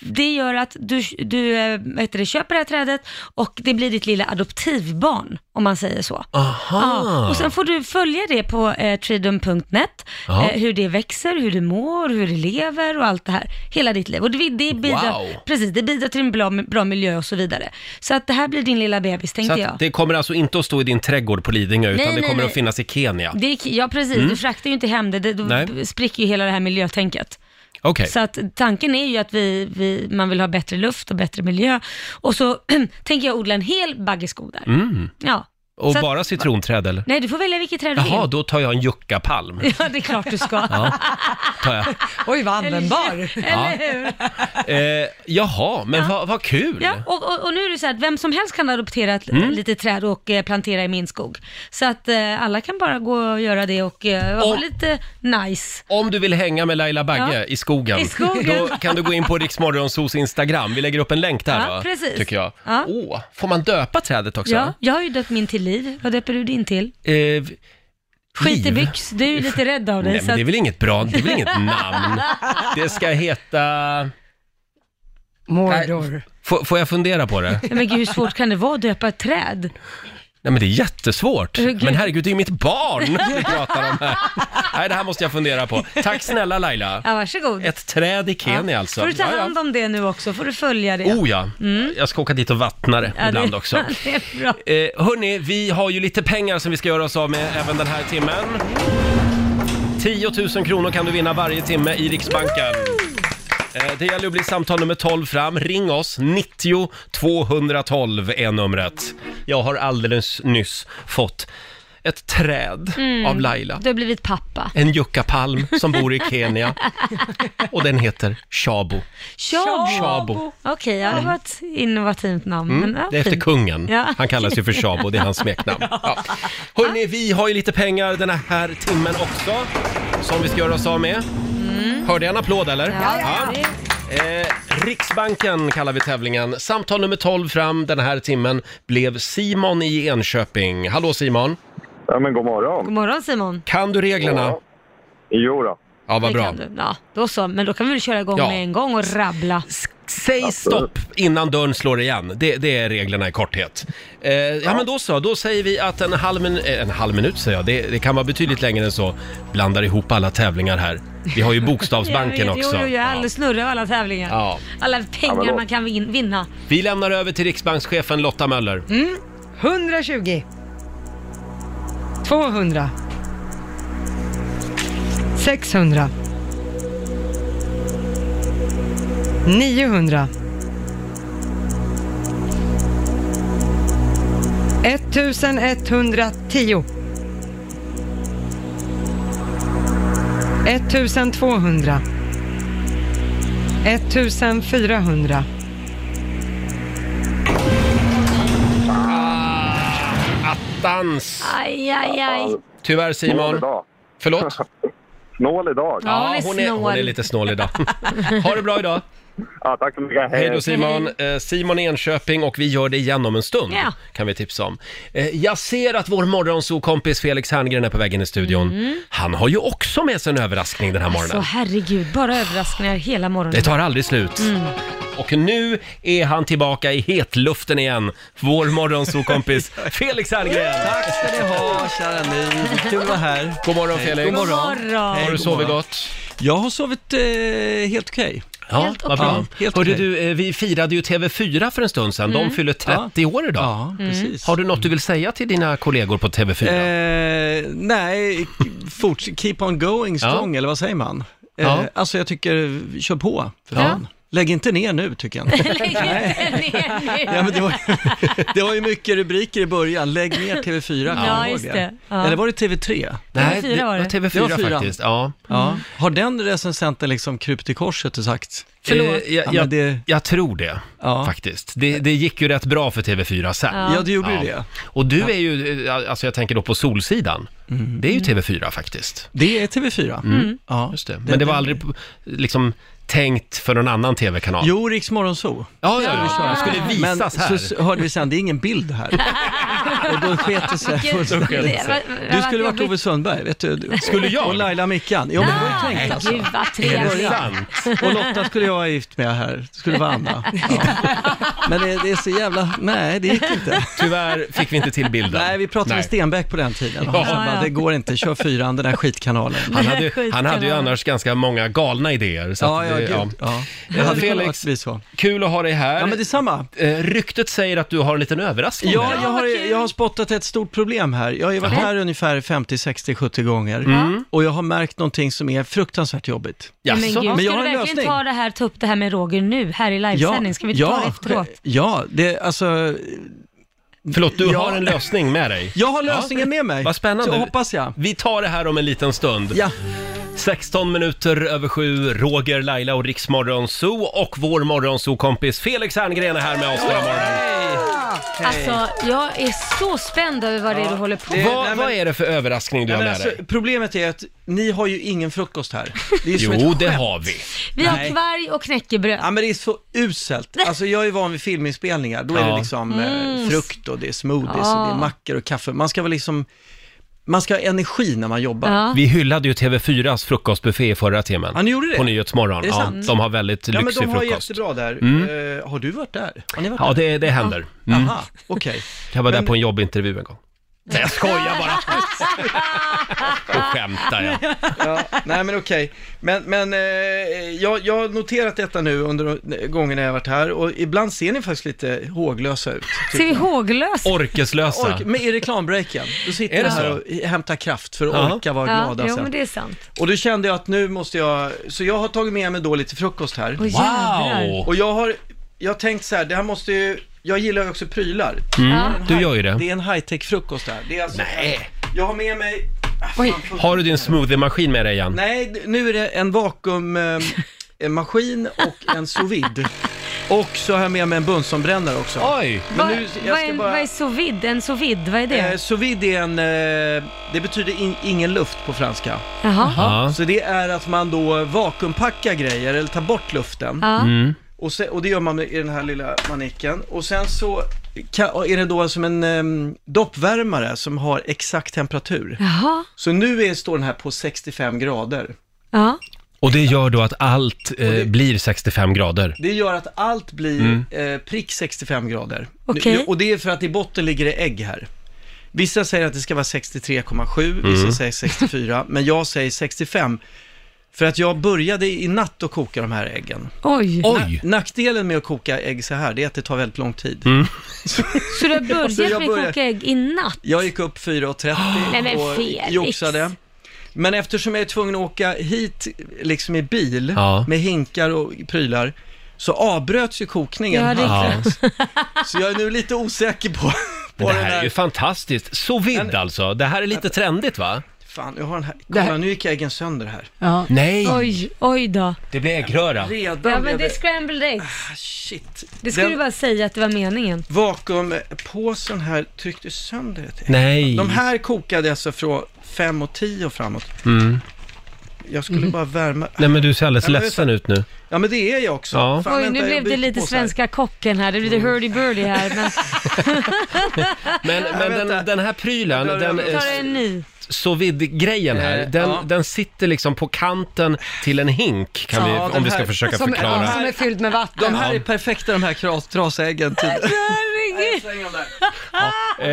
S4: det gör att du, du eh, vad heter det, köper det här trädet och det blir ditt lilla adoptivbarn, om man säger så.
S1: Aha.
S4: Ja, och sen får du följa det på eh, tridom.net,
S1: Ja.
S4: eh, hur det växer, hur det mår, hur det lever och allt det här. Hela ditt liv. Och det, det, bidrar,
S1: Wow.
S4: precis, det bidrar till en bra, bra miljö och så vidare. Så att det här blir din lilla bebis,
S1: Så
S4: tänkte jag.
S1: att det kommer alltså inte att stå i din trädgård på Lidingö, utan
S4: Nej,
S1: det
S4: nej,
S1: kommer
S4: nej.
S1: att finnas i Kenya?
S4: Det gick- ja, precis.
S1: Mm.
S4: Du fraktar ju inte hem det, det då
S1: Nej.
S4: spricker ju hela det här miljötänket.
S1: Okej.
S4: Så att tanken är ju att vi, vi, man vill ha bättre luft och bättre miljö. Och så tänker jag odla en hel baggeskog där.
S1: Mm.
S4: Ja.
S1: Och
S4: Så att-
S1: bara citronträd eller?
S4: Nej, du får välja vilket träd du
S1: Jaha,
S4: vill.
S1: då tar jag en juckapalm.
S4: Ja, det är klart du ska.
S1: Ja, tar jag.
S2: Oj, vad användbar.
S1: Ja.
S4: Eller hur?
S1: Eh, jaha, men vad vad kul!
S4: Ja, och, och, och nu är det så här att vem som helst kan adoptera ett
S1: Mm.
S4: litet träd och eh, plantera i min skog. Så att eh, alla kan bara gå och göra det och eh, vara
S1: Och-
S4: lite nice.
S1: Om du vill hänga med Laila Bagge
S4: Ja.
S1: i, skogen,
S4: I skogen.
S1: då kan du gå in på Riksmorgonsos Instagram. Vi lägger upp en länk där
S4: Ja,
S1: va?
S4: precis.
S1: Tycker jag.
S4: Ja.
S1: Åh, får man döpa trädet också?
S4: Ja, jag har ju döpt min till Liv. Vad döper du din till?
S1: Eh,
S4: Skit i
S1: Liv?
S4: byx. Du är ju lite rädd av dig.
S1: Nej,
S4: så
S1: men det är
S4: att-
S1: väl inget bra, det är väl inget namn? Det ska heta...
S2: Mordor.
S1: Får, får jag fundera på det?
S4: Nej, Men gud, hur svårt kan det vara att döpa ett träd?
S1: Nej men det är jättesvårt.
S4: Herregud.
S1: Men herregud, det är ju mitt barn vi pratar om här. Nej, det här måste jag fundera på. Tack snälla Laila.
S4: Ja, varsågod.
S1: Ett träd i Kenya alltså.
S4: Får du ta
S1: Ja, ja.
S4: hand om det nu också? Får du följa det?
S1: Oh ja, jag ska åka dit och vattna det
S4: Ja,
S1: ibland
S4: det,
S1: också.
S4: Det är bra.
S1: Eh, hörni, vi har ju lite pengar som vi ska göra oss av med även den här timmen. 10 000 kronor kan du vinna varje timme i Riksbanken. Eh, Det gäller att bli samtal nummer 12 fram. Ring oss, 90 212 är numret. Jag har alldeles nyss fått ett träd
S4: Mm.
S1: av Laila.
S4: Du har blivit pappa.
S1: En juckapalm som bor i Kenya och den heter Shabo.
S4: Shabo.
S1: Shabo.
S4: Okej, ja, det var ett innovativt namn.
S1: Mm,
S4: men, ja,
S1: det är efter
S4: fint.
S1: kungen.
S4: Ja.
S1: Han kallas ju för Shabo, det är hans smeknamn. Ja. Hörni, vi har ju lite pengar den här timmen också, som vi ska göra oss av med. Hörde jag en applåd eller?
S4: Mm. Ja,
S1: Ja.
S4: det-
S1: Eh, Riksbanken kallar vi tävlingen. Samtal nummer 12 fram den här timmen blev Simon i Enköping. Hallå Simon!
S10: Ja, men god morgon.
S4: God morgon Simon.
S1: Kan du reglerna?
S10: Ja. Jo då.
S1: Ja, vad
S4: Det
S1: bra.
S4: kan du. Ja, då så. Men då kan vi väl köra igång
S1: Ja.
S4: med en gång och rabbla.
S1: Säg
S4: Alltså-
S1: stopp innan dörren slår igen. Det, det är reglerna i korthet. Eh, ja, men då så. Då säger vi att en halv, min, eh, en halv minut, säger jag. Det, det kan vara betydligt längre än så. Blandar ihop alla tävlingar här. Vi har ju Bokstavsbanken
S4: Jag vet,
S1: också.
S4: Jo, jo, jag är alldeles snurrig av alla tävlingar.
S1: Ja.
S4: Alla
S1: Ja, men
S4: pengar
S1: då-
S4: man kan vin- vinna.
S1: Vi lämnar över till riksbankschefen Lotta Möller.
S2: Mm. 120. 200. 600. 900. 1110. 1200. 1400.
S1: Attans!
S4: Aj, aj, aj.
S1: Tyvärr Simon. Förlåt?
S10: Snål idag.
S4: Ja, hon är
S1: hon, är, hon är
S4: snål.
S1: lite snål idag. ha det bra idag.
S10: Ja, tack så mycket.
S1: Hej då Simon. Eh, Simon i Enköping och vi gör det igen om en stund.
S4: Ja.
S1: Kan vi tipsa om. Eh, jag ser att vår morgonsokompis Felix Herngren är på väg in i studion. Han har ju också med sig en överraskning den här
S4: Alltså
S1: morgonen.
S4: herregud, bara överraskningar hela morgonen.
S1: Det tar aldrig slut.
S4: Mm.
S1: Och nu är han tillbaka i hetluften igen. Vår morgonsokompis Felix Herngren.
S11: Tack ska ni ha, kära ni. Kul att vara här.
S1: God morgon
S11: Hej,
S1: Felix.
S11: God morgon.
S1: Har du sovit gott?
S11: Jag har sovit eh, helt okej.
S1: Ja,
S4: Helt
S1: vad
S4: okej.
S1: bra.
S4: Ja, helt
S1: Hörde
S4: okej.
S1: du, eh, vi firade ju TV4 för en stund sedan.
S4: Mm.
S1: De fyller 30 år idag. Ja,
S4: Mm. precis.
S1: Har du något du vill säga till dina kollegor på TV4?
S11: Eh, nej, forts- keep on going strong, eller vad säger man? Eh,
S1: Ja.
S11: Alltså jag tycker, kör på, för
S1: Ja.
S11: fan. Lägg inte ner nu, tycker jag. Ja, men det, var, det var ju mycket rubriker i början, lägg ner TV4, kommer
S4: Ja,
S11: jag ihåg
S4: just det. Ja.
S11: Eller var det TV3?
S1: Nej, TV4 det var det. var TV4 faktiskt, ja.
S11: Ja. Har den recensenten liksom krypt i korset och sagt?
S1: Eh, jag,
S11: Ja,
S1: jag,
S11: men det,
S1: jag tror det, faktiskt. Det, det gick ju rätt bra för TV4 sen.
S11: Ja. Ja, det gjorde ju det.
S1: Och du
S11: Ja. Mm.
S1: är ju, eh, alltså jag tänker då på Solsidan. Det är ju TV4 faktiskt.
S11: det är TV4.
S1: Mm.
S11: Ja.
S1: Just det. Men det var aldrig p- liksom tänkt för någon annan TV-kanal?
S11: Jo, Riks Morgonzoo.
S1: Ja, ja, ja. Det skulle
S11: Men
S1: visas här.
S11: så hörde vi sen, det är ingen bild här. Och då sket det sig.
S4: Gud,
S11: fullständigt.
S4: det var-
S11: Du
S4: det
S11: skulle
S4: var
S11: varit Ove Sundberg, vet du. Du-
S1: Skulle jag?
S11: Och Laila Mickan. Ja, men det var ju
S4: Nej,
S11: tänkt alltså.
S4: Ah, Gud vad
S11: Är det
S4: trevligt.
S11: sant? Och Lotta skulle jag vara gift med här. Det skulle vara Anna. Ja. Men det, det är så jävla... Nej, det gick inte.
S1: Tyvärr fick vi inte till bilden.
S11: Nej, vi pratade
S1: Nej.
S11: med Stenbeck på den tiden. Och
S1: Ja.
S11: han sa bara, det går inte, kör fyran, den här skitkanalen.
S1: Han hade, han hade ju annars ganska många galna idéer. Så
S11: Ja,
S1: att
S11: ja,
S1: det-
S11: gud. Ja.
S1: Eh,
S11: Det hade
S1: Felix,
S11: kunnat bli så.
S1: kul att ha dig här. Eh,
S11: Ja, men detsamma.
S1: Ryktet säger att du har en liten överraskning.
S11: Ja,
S1: med dig.
S11: jag har, jag har spottat ett stort problem här. Jag har ju varit
S1: Jaha.
S11: här ungefär 50, 60, 70 gånger
S1: Mm.
S11: och jag har märkt någonting som är fruktansvärt jobbigt.
S4: Men gud, ska
S11: Men
S4: du
S11: jag har en
S4: verkligen
S11: lösning.
S4: ta det här, ta upp det här med Roger nu, här i livesändning? Ska vi inte ta det efteråt?
S11: Ja, det, alltså...
S1: Förlåt, du
S11: Ja.
S1: har en lösning med dig.
S11: Jag har lösningen med mig.
S1: Vad spännande.
S11: Så hoppas jag.
S1: Vi tar det här om en liten stund.
S11: Ja.
S1: 16 minuter över sju, Roger, Laila och Riks Morgonzoo och vår Morgonzoo-kompis Felix Herngren är här med oss den här morgonen.
S4: Alltså, jag är så spänd över vad det är du håller på med.
S1: vad, vad är det för överraskning du
S11: Nej,
S1: har
S11: men
S1: med
S11: alltså,
S1: dig?
S11: problemet är att ni har ju ingen frukost här. Det är som ett
S1: Jo, det
S11: skämt.
S1: har vi.
S4: Vi har
S11: Nej.
S4: kvarg och knäckebröd.
S11: Ja men det är så uselt. Alltså jag är van vid filminspelningar, då är
S1: Ja.
S11: det liksom eh,
S4: Mm.
S11: frukt och det är smoothies
S4: Ja.
S11: och det är mackor och kaffe. Man ska vara liksom, man ska ha energi när man jobbar.
S4: Ja.
S1: Vi hyllade ju TV4s frukostbuffé i förra timmen.
S11: Ja, ni gjorde det?
S1: På Nyhetsmorgon.
S11: Är det
S1: ja,
S11: sant?
S1: de har väldigt
S11: Ja men
S1: lyxig
S11: de har
S1: frukost.
S11: jättebra där.
S1: Mm.
S11: Eh, har du varit där? Har ni varit
S1: Ja,
S11: där?
S1: det, det händer. Mm.
S11: Aha, okej.
S1: Jag var där
S11: Men-
S1: på en jobbintervju en gång. Nej, jag skojar bara. Då skämtar jag.
S11: Ja, nej men okej. Men, men eh, jag, jag har noterat detta nu under gången jag har varit här och ibland ser ni faktiskt lite håglösa ut.
S4: Ser vi håglösa?
S1: Orkeslösa.
S11: Ork, men i reklambreaken, då sitter
S1: Är det
S11: jag här
S1: så?
S11: och hämtar kraft för att
S1: Ja.
S11: orka vara
S4: Ja,
S11: glada
S4: jo, men
S11: sen.
S4: det är sant.
S11: Och då kände jag att nu måste jag, så jag har tagit med mig då lite frukost här.
S4: Åh, jävlar.
S11: Och jag har, jag har tänkt så här, det här måste ju, jag gillar ju också prylar.
S1: Mm, du gör ju det.
S11: Det är en high-tech frukost där. Det är alltså, Nej. Jag har med mig, ah, fan, frukost.
S1: Har du din smoothie-maskin med dig igen?
S11: Nej, d- nu är det en vakuummaskin och en sous vide. Och så har jag med mig en Bunsenbrännare också.
S1: Oj!
S11: Men
S4: Vad
S11: nu, jag
S4: vad
S11: ska
S4: är,
S11: bara...
S4: vad är sous vide? En sous vide, vad är det?
S11: Eh, sous vide är en, eh, det betyder in, ingen luft på franska.
S4: Jaha.
S1: Ja.
S11: Så det är att man då vakuumpackar grejer eller tar bort luften.
S4: Ja.
S1: Mm.
S11: Och, se, och det gör man i den här lilla manicken. Och sen så ka- är det då som en em, doppvärmare som har exakt temperatur.
S4: Jaha.
S11: Så nu är, står den här på 65 grader.
S4: Ja.
S1: Och det gör då att allt eh, blir 65 grader.
S11: Det gör att allt blir
S1: Mm.
S11: eh, prick 65 grader.
S4: Okej.
S11: Nu- Och det är för att i botten ligger det ägg här. Vissa säger att det ska vara 63,7,
S1: Mm.
S11: vissa säger 64, men jag säger 65. För att jag började i natt att koka de här äggen.
S4: Oj.
S1: Oj!
S11: Nackdelen med att koka ägg så här, det är att det tar väldigt lång tid.
S1: Mm.
S4: Så du har
S11: Så jag
S4: börjat med
S11: börjar-
S4: koka ägg i natt?
S11: Jag gick upp 4.30
S4: Nej, men Felix.
S11: och joxade. Men eftersom jag är tvungen att åka hit liksom i bil
S1: Ja.
S11: med hinkar och prylar så avbröts ju kokningen.
S4: Ja, det är
S1: Ja.
S11: Så jag är nu lite osäker på,
S1: Men
S11: på
S1: det
S11: den
S1: här är
S11: här.
S1: ju fantastiskt. Sous vide alltså. Det här är lite trendigt va?
S11: Fan, jag har den här. Kolla, nu gick äggen sönder här.
S12: Ja.
S1: Nej,
S4: Oj, oj då.
S1: det blir äggröra.
S11: Redan
S4: Ja, men
S11: blev
S4: det är scrambled eggs.
S11: Ah, Shit.
S4: Det skulle du bara säga att det var meningen.
S11: Vakuumpåsen här tryckte sönder ett ägg.
S1: Nej.
S11: De här kokade alltså från 5 och 10 och framåt.
S1: Mm.
S11: Jag skulle bara värma.
S1: Nej men du ser alldeles
S11: Nej, men
S1: ledsen ut nu.
S11: Ja, men det är jag också.
S1: Ja.
S11: Fan,
S4: Oj,
S11: vänta,
S4: nu
S11: jag
S4: blev det
S11: byter
S4: lite
S11: pås här. Mm.
S4: svenska kocken här. Det blev lite hurdy burdy här. Men
S1: Men, men
S11: vänta.
S1: den, den här prylen,
S11: Jag drar
S1: den
S11: över.
S1: eh,
S4: tar en ny.
S1: sous vide-grejen här,
S11: Eh,
S1: den,
S11: ja.
S1: den sitter liksom på kanten till en hink kan
S11: Ja,
S1: vi, om
S11: den
S1: vi ska
S11: här-
S1: försöka
S2: Som, ja, som
S1: förklara.
S2: är fylld med vatten.
S11: De här är perfekta de här kras- trasäggen typ. till.
S4: Herregud.
S11: Släng dem där.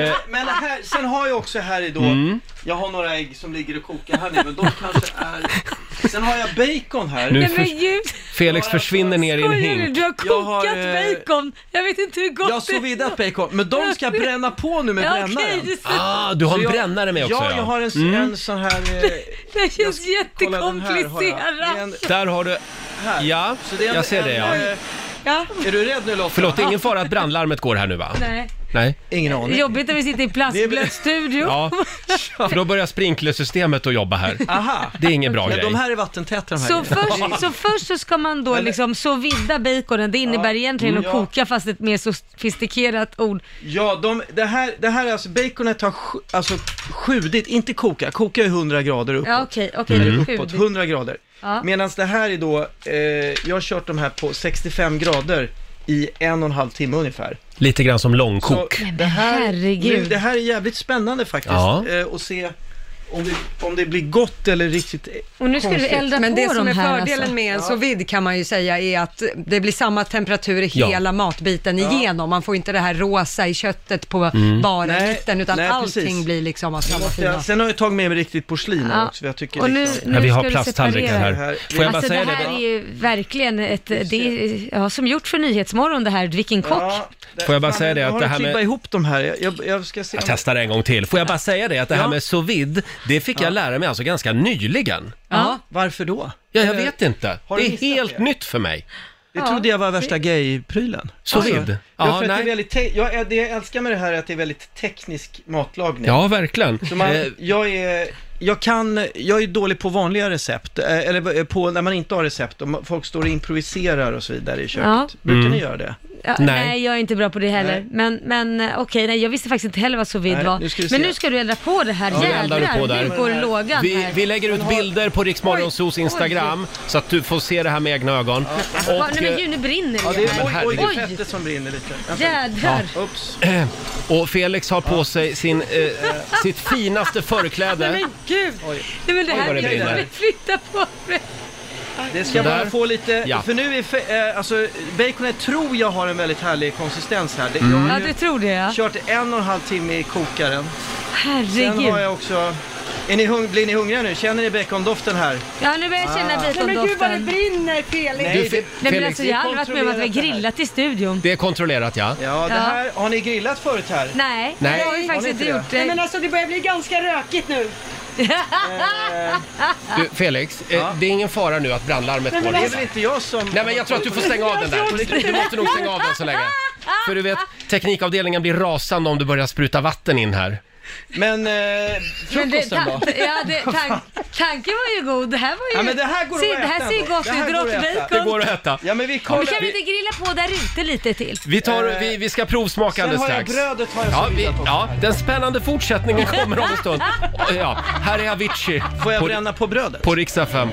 S1: Eh,
S11: Men här,
S4: Mm.
S11: sen har jag också här i då, jag har några ägg som ligger och kokar här nu, men de kanske är Sen har jag bacon här.
S1: Nu Nej, men för- gud. Felix försvinner ner i en hink.
S4: Du har
S11: Jag har,
S4: kokat
S11: eh,
S4: bacon. Jag vet inte hur gott
S11: Jag har sous
S4: det
S11: vidat bacon, men de ska jag bränna på nu med
S4: Ja, okej,
S11: brännaren.
S4: det är så-
S1: Ah, du har
S11: Så
S1: en
S11: jag-
S1: brännare med också
S11: Ja, jag har en, s-
S1: Mm.
S11: en sån här... eh,
S4: Det känns
S11: kolla, den här har jag. Det är
S4: jättekomplicerat.
S11: en-
S1: Där har du...
S11: Här.
S1: Ja,
S11: Så det är en-
S1: jag ser det
S11: en,
S1: ja.
S11: eh, Är du rädd nu Lotta?
S1: Förlåt, det är ingen fara att brandlarmet går här nu va?
S4: Nej.
S1: Nej?
S11: Ingen
S4: Det är Jobbigt när vi sitter i plastblöt studio.
S1: Ja, för då börjar sprinklersystemet att jobba här.
S11: Aha.
S1: Det är ingen bra
S11: Ja,
S1: grej.
S11: Ah. de här är vattentäta de här
S4: Så
S11: grejerna.
S4: först, så först så ska man då liksom sous vida baconen, det innebär egentligen
S11: Mm.
S4: att koka fast ett mer sofistikerat ord.
S11: Ja, de, det, här, det här är alltså, baconet har sj, alltså sjudit, inte koka, koka är 100 grader uppåt.
S4: Ja okej, okej.
S11: Eller
S4: Mm.
S11: uppåt, 100 grader.
S4: Ja.
S11: Medan det här är då, eh, jag har kört de här på 65 grader i en och en halv timme ungefär.
S1: Lite grann som långkok.
S11: Så det här, nu,
S4: herregud.
S11: det här är jävligt spännande faktiskt,
S1: Ja.
S11: eh, att se om det, om det blir gott eller riktigt eh,
S4: Och nu ska du
S11: konstigt.
S4: elda
S2: Men
S4: på
S2: det som
S4: de
S2: är
S4: här
S2: fördelen
S4: alltså.
S2: med en sous vide kan man ju säga är att det blir samma temperatur i
S1: Ja.
S2: hela matbiten igenom. Man får inte det här rosa i köttet på bara
S11: Nej,
S2: mitten utan
S11: nej,
S2: allting
S11: precis.
S2: blir liksom av samma
S11: Ja,
S2: fina.
S11: sen har jag tagit med mig riktigt porslin här
S4: Ja.
S11: också, för jag tycker
S4: Och nu,
S11: liksom...
S4: nu
S1: Ja, vi
S4: ska
S1: har
S4: du
S1: plasttallrikar
S4: separera.
S1: här.
S11: här.
S1: Får jag bara
S4: Alltså
S1: säga
S4: det
S1: det
S4: här är
S1: då?
S4: ju verkligen ett, det är, ja, som gjort för Nyhetsmorgon det här, vilken kock.
S11: där-
S1: Får jag bara
S11: fan,
S1: säga det
S11: jag
S1: att
S11: har
S1: det här
S11: klibbat
S1: med-
S11: ihop de här, jag, jag, jag ska se...
S1: Jag
S11: om-
S1: testar en gång till. Får jag bara säga det att det här
S11: Ja.
S1: med sous vide, det fick jag lära mig alltså ganska nyligen.
S4: Ja.
S11: Varför då?
S1: Ja, jag vet inte.
S11: Har du
S1: det är
S11: missat
S1: helt
S11: det?
S1: nytt för mig.
S11: Det trodde jag var värsta gay-prylen.
S1: Sous vide? Ja,
S11: Ja, för att det är
S1: nej.
S11: väldigt te- jag, är- det jag älskar med det här är att det är väldigt teknisk matlagning.
S1: Ja, verkligen.
S11: Så man,
S1: Eh,
S11: jag, är, jag, kan, jag är dålig på vanliga recept, eh, eller på, när man inte har recept och ma- folk står och improviserar och så vidare i köket.
S4: Ja.
S11: Brukar
S1: Mm.
S11: ni göra det?
S4: Ja,
S1: Nej.
S4: nej. jag är inte bra på det heller.
S11: Nej.
S4: Men, men eh, okej, nej, jag visste faktiskt inte heller vad sous vide
S11: Nej,
S4: var.
S11: nu ska vi se.
S4: men nu ska du elda på det här.
S1: Ja, nu eldar
S4: Jävlar,
S1: du på där.
S4: nu går lågan
S1: Vi,
S4: här.
S1: vi lägger ut bilder på Riksmorgonsos
S4: Oj, oj.
S1: Instagram så att du får se det här med egna ögon.
S4: Va,
S1: Och, eh,
S4: nej men gud, nu brinner det.
S11: eh, Ja, det
S4: ju
S11: är,
S4: här.
S1: men
S11: oj, oj, det är
S4: herregud.
S11: fettet som brinner lite. Vänta.
S4: Jädrar.
S11: Ups.
S1: eh, och Felix har på sig sin, eh, sitt finaste förkläde.
S4: Nej men gud.
S11: Oj.
S4: Nej men det
S1: Oj,
S4: här
S1: vad det
S4: vill jag
S1: brinner.
S4: inte flytta på mig.
S11: Det ska
S1: Sådär.
S11: bara få lite,
S1: Ja.
S11: för nu är fe- eh, alltså, baconet tror jag har en väldigt härlig konsistens här. Det, Jag
S4: Ja
S11: har
S4: du
S11: ju
S4: tror det ja.
S11: kört en och en halv timme i kokaren. Sen har
S4: Herregud.
S11: jag också, är ni hung- blir ni hungriga nu? Känner ni bacondoften här?
S4: Ja nu börjar jag
S11: Ah.
S4: känna
S2: Nej men gud vad det
S4: bacondoften.
S2: brinner Felix!
S1: Du, Fe-
S4: Nej men
S1: Felix,
S4: alltså jag har aldrig varit med om att vi har
S11: kontrollerat det här.
S4: grillat i studion.
S1: det är kontrollerat ja.
S11: Ja, det
S4: Ja.
S11: här, har ni grillat förut här?
S4: Nej,
S1: Nej.
S4: jag har ju
S11: Har ni
S4: faktiskt inte
S11: inte
S4: gjort
S2: Nej men
S4: det.
S2: alltså det börjar bli ganska rökigt nu.
S1: Du, Felix, eh,
S11: Ja.
S1: det är ingen fara nu att brandlarmet går.
S4: alltså-
S11: Det är väl inte jag som...
S1: Nej men jag tror att du får stänga av den där. Du måste nog stänga av den så länge. För du vet, teknikavdelningen blir rasande om du börjar spruta vatten in här.
S11: Men eh,
S4: Men det,
S11: frukosten då?
S4: ta- ja, det, tan- tanken var ju god. Det här var ju...
S11: Ja, men det här går
S4: Se,
S11: att
S4: det här
S11: äta
S4: ser ju
S11: ändå.
S4: gott
S11: Det
S4: ut.
S11: här går att äta.
S4: Råttbacon.
S11: Det
S1: Går att äta.
S11: Ja men vi
S4: Men
S11: kollar.
S4: kan vi inte grilla på där ute lite till?
S1: Vi, tar, vi, vi ska provsmaka
S11: Sen
S1: alldeles
S11: har jag
S1: strax.
S11: brödet har jag
S1: ja,
S11: sous
S1: vi,
S11: vidat också
S1: ja,
S11: här.
S1: den spännande fortsättningen kommer om en stund. Ja, här är Avicii
S11: Får jag
S1: på,
S11: bränna på brödet?
S1: på Rix FM.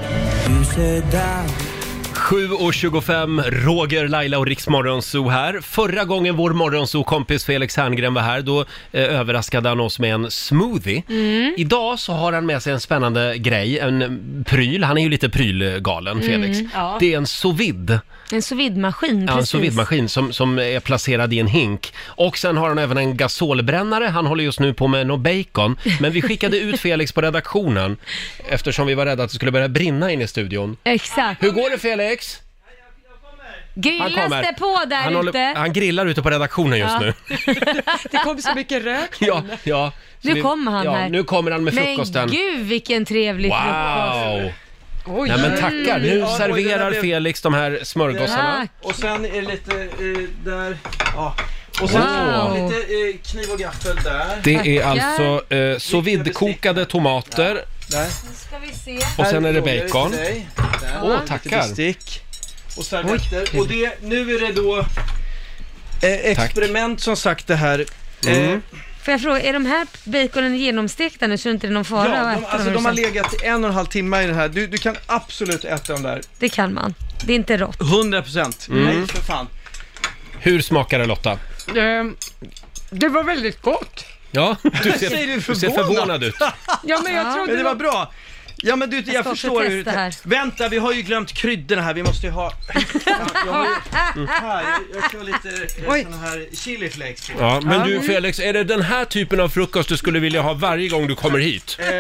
S1: 7.25, Roger, Laila och Rix Morgonzoo här. Förra gången vår Morgonzoo-kompis Felix Herngren var här, då eh, överraskade han oss med en smoothie. Idag så har han med sig en spännande grej, en pryl. Han är ju lite prylgalen, Felix.
S4: ja.
S1: Det är en sous vide.
S4: En sous vide-maskin,
S1: Ja, en
S4: precis.
S1: sous vide-maskin som, som är placerad i en hink. Och sen har han även en gasolbrännare. Han håller just nu på med något bacon. Men vi skickade ut Felix på redaktionen eftersom vi var rädda att det skulle börja brinna in i studion.
S4: Exakt.
S1: Hur går det Felix?
S4: Grillas det på där
S1: han,
S4: ute?
S1: håller, han grillar ute på redaktionen just
S4: Ja.
S1: nu.
S2: Det kom så mycket rök.
S1: Ja, ja. Så
S4: Nu kommer han
S1: ja,
S4: här.
S1: Nu kommer han med frukosten.
S4: Men gud vilken trevlig frukost. Mm.
S1: wow!
S2: Oj.
S1: Nej men tackar, nu
S11: Ja, oj, den
S1: serverar
S11: här blev-
S1: Felix de här smörgåsarna.
S4: Tack.
S11: Och sen är det lite eh, där. Ja. Och sen
S4: Wow.
S11: lite eh, kniv och gaffel där.
S1: Det är
S4: Tackar.
S1: alltså eh, sous vide-kokade tomater
S11: där.
S4: Nu ska vi se.
S1: och sen är det
S11: Här
S1: bacon.
S11: till dig. Där.
S1: Åh,
S11: Lite
S1: tackar!
S11: bestick. Och servetter. Och det, nu är det då eh, experiment som sagt det här. Eh,
S4: Får jag fråga, är de här baconen genomstekta nu så är det inte är någon fara
S11: ja,
S4: att
S11: de,
S4: äta
S11: alltså
S4: dem
S11: de har
S4: sen?
S11: legat i en och en halv timme i den här. Du, du kan absolut äta dem där.
S4: Det kan man. Det är inte rått.
S11: 100 procent.
S1: Mm.
S11: Nej, för fan.
S1: Hur smakar det Lotta?
S2: Ehm, Det var väldigt gott.
S1: Ja, du ser,
S11: Säger du
S1: du ser
S11: förvånad?
S1: förvånad ut.
S2: Ja men jag
S4: Ja.
S2: trodde
S11: Men det var bra. Ja men du, jag,
S4: Jag ska
S11: förstår
S4: också
S11: hur
S4: testa här.
S11: Vänta, vi har ju glömt kryddorna här. Vi måste ju ha... Jag har ju... Här, jag kör lite eh,
S5: Oj.
S11: såna här chili flakes på.
S1: Ja, men du
S11: Mm.
S1: Felix, är det den här typen av frukost du skulle vilja ha varje gång du kommer hit?
S11: Eh,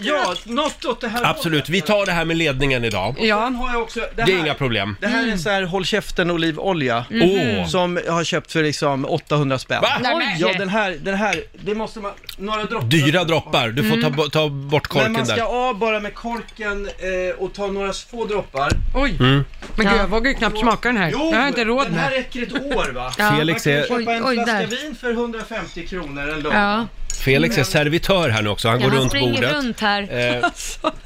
S11: ja, något åt det här
S1: Absolut, vi tar det här med ledningen idag.
S11: Ja. Sen har jag också, det,
S1: Det
S11: här,
S1: är inga problem.
S11: det här är en sån här håll käften olivolja Mm-hmm.
S1: Mhm. Åh.
S11: som jag har köpt för liksom 800 spänn.
S1: Va? Nej, men-
S11: Ja, den här, den här, det måste man, några droppar.
S1: Dyra droppar, du får ta, bo- ta bort
S11: Mm.
S1: korken
S11: Men man ska
S1: där.
S11: av bara med korken eh, och ta några få droppar.
S2: Oj!
S1: Mm.
S2: Men gud, jag vågar ju knappt smaka den här.
S11: Jo,
S2: Jag har inte råd
S11: den här
S2: med.
S11: räcker ett år va?
S1: Ja. Felix är-
S11: Man kan köpa en
S2: Oj, oj,
S11: flaska
S2: där.
S11: vin för 150 kronor en lång.
S1: Felix är
S11: Mm.
S1: servitör här nu också, han
S4: Ja,
S1: går runt
S4: springer
S1: bordet.
S4: runt här.
S1: Eh,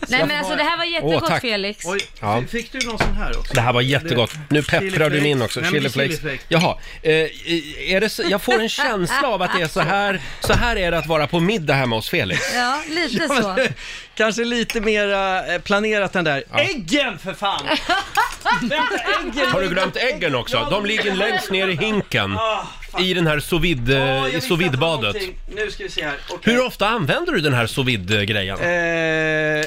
S4: Nej men alltså det här var
S1: Åh,
S4: jättegott
S1: tack.
S4: Felix.
S11: Oj,
S1: Ja.
S11: Fick du någon sån här också?
S1: Det här var jättegott. Nu pepprar du
S11: flakes.
S1: in också.
S11: Nej, men
S1: Chili
S11: chili
S1: flakes.
S11: flakes.
S1: Jaha, eh, är det så, jag får en känsla av att det är så här, så här är det att vara på middag hemma hos Felix.
S4: Ja, lite
S11: Ja, men
S4: så.
S11: det- Kanske lite mera eh, planerat än där. Äggen för fan!
S1: Har du glömt äggen också? De ligger längst ner i hinken.
S11: Ah,
S1: I den här sous vide- i sous vide-badet.
S11: Nu ska vi se här. Okej.
S1: Hur ofta använder du den här sous vide-grejen?
S11: Eh,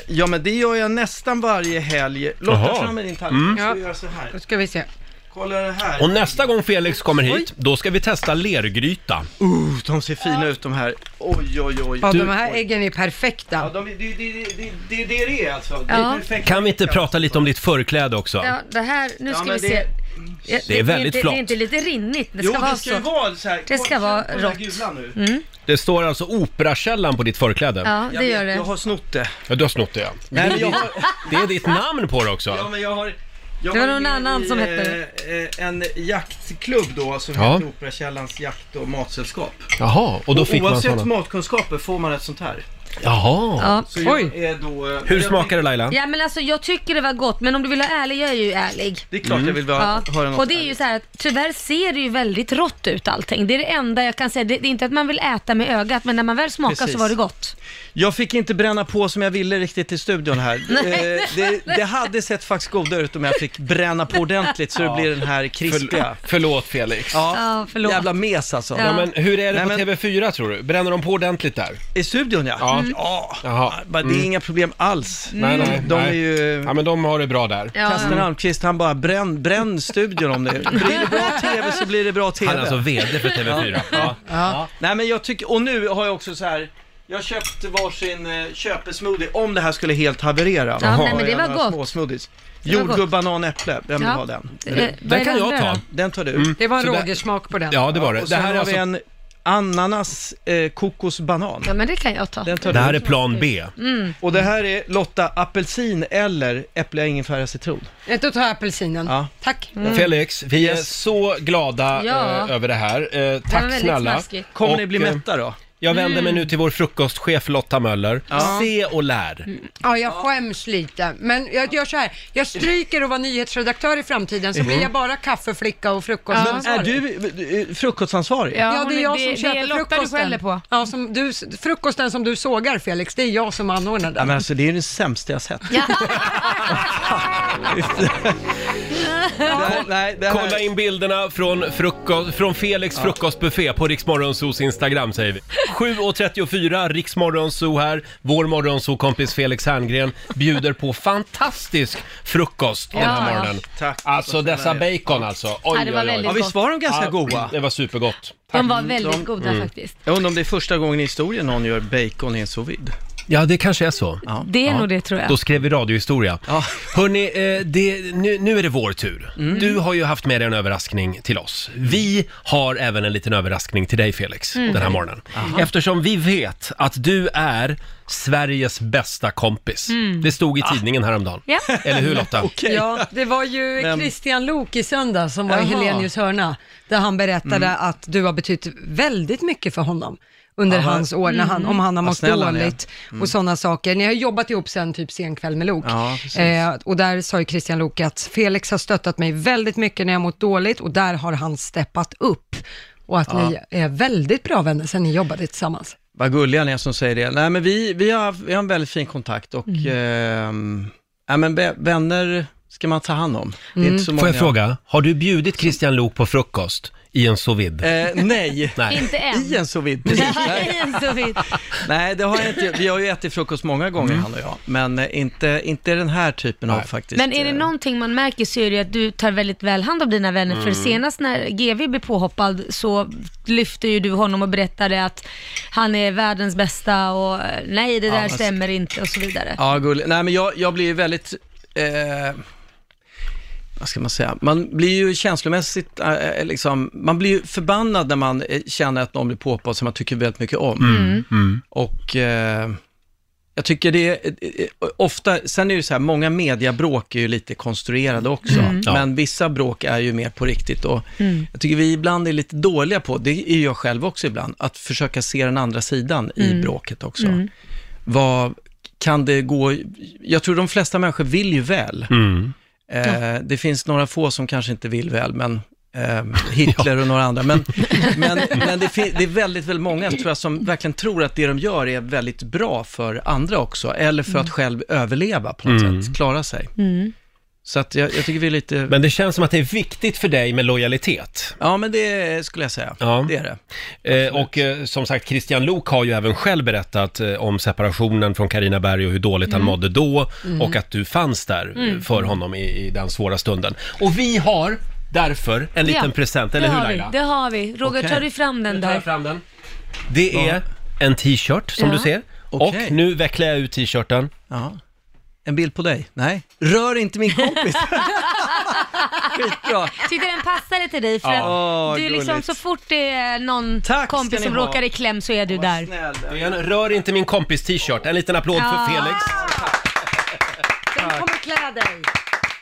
S11: ja men det gör jag nästan varje helg. Lotta
S1: Jaha.
S11: fram med din tallrik.
S1: Mm.
S11: Ska vi göra så här? Då
S2: ska vi se.
S11: Kolla det här.
S1: Och nästa gång Felix kommer hit, då ska vi testa lergryta.
S11: Uh, de ser fina ut de här. Oj, oj, oj.
S2: Ja, de här äggen är perfekta.
S11: Ja, de, det, det, det, det, det, det är det alltså. Det
S4: Ja.
S11: är perfekt.
S1: Kan vi inte prata lite om ditt förkläde också?
S4: Ja, det här, nu
S11: Ja,
S4: ska
S11: men
S4: vi
S11: det-
S4: se. Ja,
S1: Det är väldigt
S4: inte,
S1: flott.
S4: Det är inte lite rinnigt, det
S11: Jo,
S4: ska
S11: det
S4: vara
S11: ska
S4: så.
S11: ju vara så här.
S4: Det ska vara
S11: Kolla
S4: rått.
S11: gula nu.
S4: Mm.
S1: Det står alltså Operakällan på ditt förkläde.
S4: Ja, det gör det.
S11: Jag har snott det.
S1: Ja, du har snott det ja.
S11: Nej, men jag har-
S1: Det är ditt namn på det också.
S11: Ja, men jag har... Jag
S4: Det var
S11: var
S4: någon
S11: med
S4: annan
S11: i,
S4: som
S11: eh,
S4: hette-
S11: eh, En jaktklubb då som
S1: Ja.
S11: hette Operakällans jakt och matsällskap.
S1: Jaha, och då fick man
S11: oavsett
S1: såna.
S11: matkunskaper får man ett sånt här.
S1: Jaha.
S4: Ja.
S11: Så jag är då... eh,
S1: Hur
S11: jag-
S1: smakar det Laila?
S4: Ja men alltså jag tycker det var gott, men om du vill ha ärlig, jag är ju ärlig.
S11: Det är klart jag vill
S1: Mm.
S11: vara- höra något
S4: Och det är ju så här att tyvärr ser det ju väldigt rått ut allting. Det är det enda jag kan säga. Det det är inte att man vill äta med ögat, men när man väl smakar
S11: Precis.
S4: så var det gott.
S11: Jag fick inte bränna på som jag ville riktigt i studion här.
S4: Nej.
S11: Eh, det, det hade sett faktiskt godare ut om jag fick bränna på ordentligt så det blir den här krispiga.
S1: Förl- förlåt Felix.
S11: Ja,
S4: Ja, förlåt.
S11: jävla mes alltså.
S1: Ja, men hur är det
S11: Nej,
S1: på
S11: men-
S1: TV4 tror du? Bränner de på ordentligt där?
S11: I studion ja. Mm.
S1: Ja.
S11: Ja,
S1: Jaha. Mm.
S11: bara det är inga problem alls.
S1: Nej, nej,
S11: Mm. de
S1: nej.
S11: är ju...
S1: Ja, men de har det bra där.
S4: Ja.
S11: Kasten Almqvist, han bara bränn, bränn studion om det. Blir det bra TV så blir det bra TV.
S1: Han är alltså VD för TV4. Ja.
S11: Ja. Nej men jag tycker, och nu har jag också så här, jag köpte varsin eh, köpesmoothie om det här skulle helt haverera.
S4: Ja, nej, men det
S11: Jag
S4: var
S11: har några
S4: gott.
S11: Små smoothies.
S4: Det var
S11: Jordgubb,
S4: gott.
S11: banan, äpple. Vem vill
S4: Ja.
S11: ha den?
S4: Eh, vad är Den kan den jag där ta. då?
S11: Den tar du.
S1: Mm.
S2: Det var en
S1: Så där-
S2: rågersmak på den.
S1: Ja, det var det.
S11: Och
S1: Det
S11: sen
S1: här
S11: har
S1: är
S11: vi
S1: alltså...
S11: en ananas, eh, kokosbanan.
S4: Ja men det kan jag ta.
S11: Den tar
S1: Det här
S11: du.
S1: är plan B.
S4: Mm.
S11: Och det här är Lotta, apelsin eller äpple, ingefära, citron.
S2: Eh, Då tar jag apelsinen.
S11: Ja.
S2: Tack.
S1: Felix, vi är så glada
S2: Ja.
S1: eh, över det här. Eh,
S2: var
S1: tack
S2: väldigt
S1: snälla.
S2: smaskigt.
S11: Kommer ni
S1: Och,
S11: bli
S1: eh,
S11: mätta då?
S1: Jag vänder mig
S2: Mm.
S1: nu till vår frukostchef Lotta Möller.
S2: Ja.
S1: Se och lär.
S11: Mm.
S2: Ja, jag skäms lite. Men jag gör så här. Jag stryker att vara nyhetsredaktör i framtiden så
S11: Mm.
S2: blir jag bara kaffeflicka och frukostansvarig.
S11: Men är du eh, frukostansvarig?
S2: Ja, det är jag som
S12: det-
S2: köper
S12: det är Lotta du
S2: frukosten.
S12: skäller
S2: på. Ja, som du, frukosten som du sågar Felix, det är jag som anordnar
S11: Ja,
S2: den.
S11: men alltså det är ju det sämsta jag sett. här- nej, det här-
S1: Kolla in bilderna från, frukost, från Felix frukostbuffé på Riksmorgonsos Instagram säger vi. 7.34, Riksmorgonso här. Vår morgonso-kompis Felix Herngren bjuder på fantastisk frukost den
S11: Ja.
S1: här morgonen.
S11: Tack.
S1: Alltså
S11: Vad snälla
S1: dessa
S11: ni är.
S1: bacon alltså. Oj,
S4: Ja, det var
S1: oj, oj.
S4: väldigt Ja, visst
S11: var de ganska goda?
S1: Ah, Det var supergott.
S4: De var Mm. väldigt goda faktiskt.
S11: Jag undrar om det är första gången i historien någon gör bacon i en sous vide.
S1: Ja, det kanske är så.
S4: Det är nog det tror jag.
S1: Då skrev vi radiohistoria. Hörni, eh, det- nu, nu är det vår tur. Du har ju haft med dig en överraskning till oss. Vi har även en liten överraskning till dig Felix,
S5: Mm.
S1: den här morgonen.
S5: Aha.
S1: Eftersom vi vet att du är Sveriges bästa kompis.
S2: Mm.
S1: Det stod i tidningen häromdagen.
S2: Ja.
S1: Eller hur Lotta?
S2: Ja, det var ju
S1: Vem?
S2: Christian Lok i söndag som var i
S1: Jaha.
S2: Helenius hörna, där han berättade
S1: Mm.
S2: att du har betytt väldigt mycket för honom under
S1: Ja, va? Mm.
S2: hans år, när han, om han har
S1: Vad
S2: mått
S1: snäll han är.
S2: dåligt
S1: Mm.
S2: och sådana saker. Ni har ju jobbat ihop sen typ senkväll med Lok.
S1: Ja, precis.
S2: eh, och där sa ju Christian Lok att Felix har stöttat mig väldigt mycket när jag mått dåligt och där har han steppat upp. Och att
S11: Ja.
S2: ni är väldigt bra vänner sen ni jobbade tillsammans.
S11: Vad gulliga ni är som säger det. Nej, men vi, vi, har, vi har en väldigt fin kontakt och ehm, ja, men vä- vänner ska man ta hand om. Det är
S1: Mm.
S11: inte så många.
S1: Får jag fråga, har du bjudit Christian Lok på frukost i en sous vide?
S11: Eh, nej.
S1: Nej.
S4: Inte än.
S11: I en sous vide, precis. Nej.
S4: Ingen så vitt.
S11: nej, det har jag inte. Vi har ju ätit frukost många gånger,
S4: Mm.
S11: han och jag. Men eh, inte, inte den här typen av faktiskt.
S4: Men
S1: eh,
S4: är det någonting man märker så är det ju att du tar väldigt väl hand om dina vänner. För
S11: Mm.
S4: senast när GV blev påhoppad så lyfte ju du honom och berättade att han är världens bästa och eh, nej det
S11: Ja,
S4: där
S11: men-
S4: stämmer inte och så vidare.
S11: Ja, gulligt. Nej, men jag, jag blir ju väldigt... Eh, vad ska man säga? Man blir ju känslomässigt, eh, liksom, man blir ju förbannad när man eh, känner att någon blir påhoppad som man tycker väldigt mycket om.
S5: Mm, mm.
S11: Och eh, jag tycker det är, eh, eh, ofta, sen är det ju så här, många mediabråk är ju lite konstruerade också,
S5: Mm. Ja.
S11: men vissa bråk är ju mer på riktigt. Och
S5: Mm.
S11: Jag tycker vi ibland är lite dåliga på, det är ju jag själv också ibland, att försöka se den andra sidan i
S5: Mm.
S11: bråket också vad kan det gå... Jag tror de flesta människor vill ju väl.
S5: Mm.
S11: Eh, det finns några få som kanske inte vill väl, men eh, Hitler och några andra. Men, men, men det, fin- det är väldigt, väldigt många tror jag, som verkligen tror att det de gör är väldigt bra för andra också, eller för
S4: Mm.
S11: att själv överleva på något
S1: Mm.
S11: sätt, klara sig.
S4: Mm.
S11: Så att jag, jag tycker vi är lite...
S1: Men det känns som att det är viktigt för dig med lojalitet.
S11: Ja, men det skulle jag säga.
S1: Ja.
S11: Det är
S1: det. Eh, och eh, som sagt, Christian Lok har ju även själv berättat eh, om separationen från Karina Berg och hur dåligt han
S11: Mm.
S1: mådde då
S11: Mm.
S1: och att du fanns där eh,
S11: Mm.
S1: för honom i, i den svåra stunden. Och vi har därför en liten
S4: Ja,
S1: present, eller
S4: det
S1: hur
S4: har
S1: Laila?
S4: Vi, det har vi. Roger,
S1: Okej.
S4: tar du fram den där?
S1: tar jag fram den. Det är en t-shirt som
S4: Ja.
S1: du ser.
S11: Okej.
S1: Och nu vecklar jag ut t-shirten.
S11: Ja. En bild på dig? Nej. Rör inte min kompis! Skitbra!
S4: Tyckte den passade till dig för
S11: Ja.
S4: att
S11: Åh,
S4: du liksom
S11: gulligt.
S4: så fort det är någon kompis
S11: ni
S4: som
S11: ha.
S4: råkar i kläm så är du där.
S1: Det är en Rör inte min kompis t-shirt. En liten applåd
S4: Ja.
S1: för Felix.
S4: Den kommer klä dig.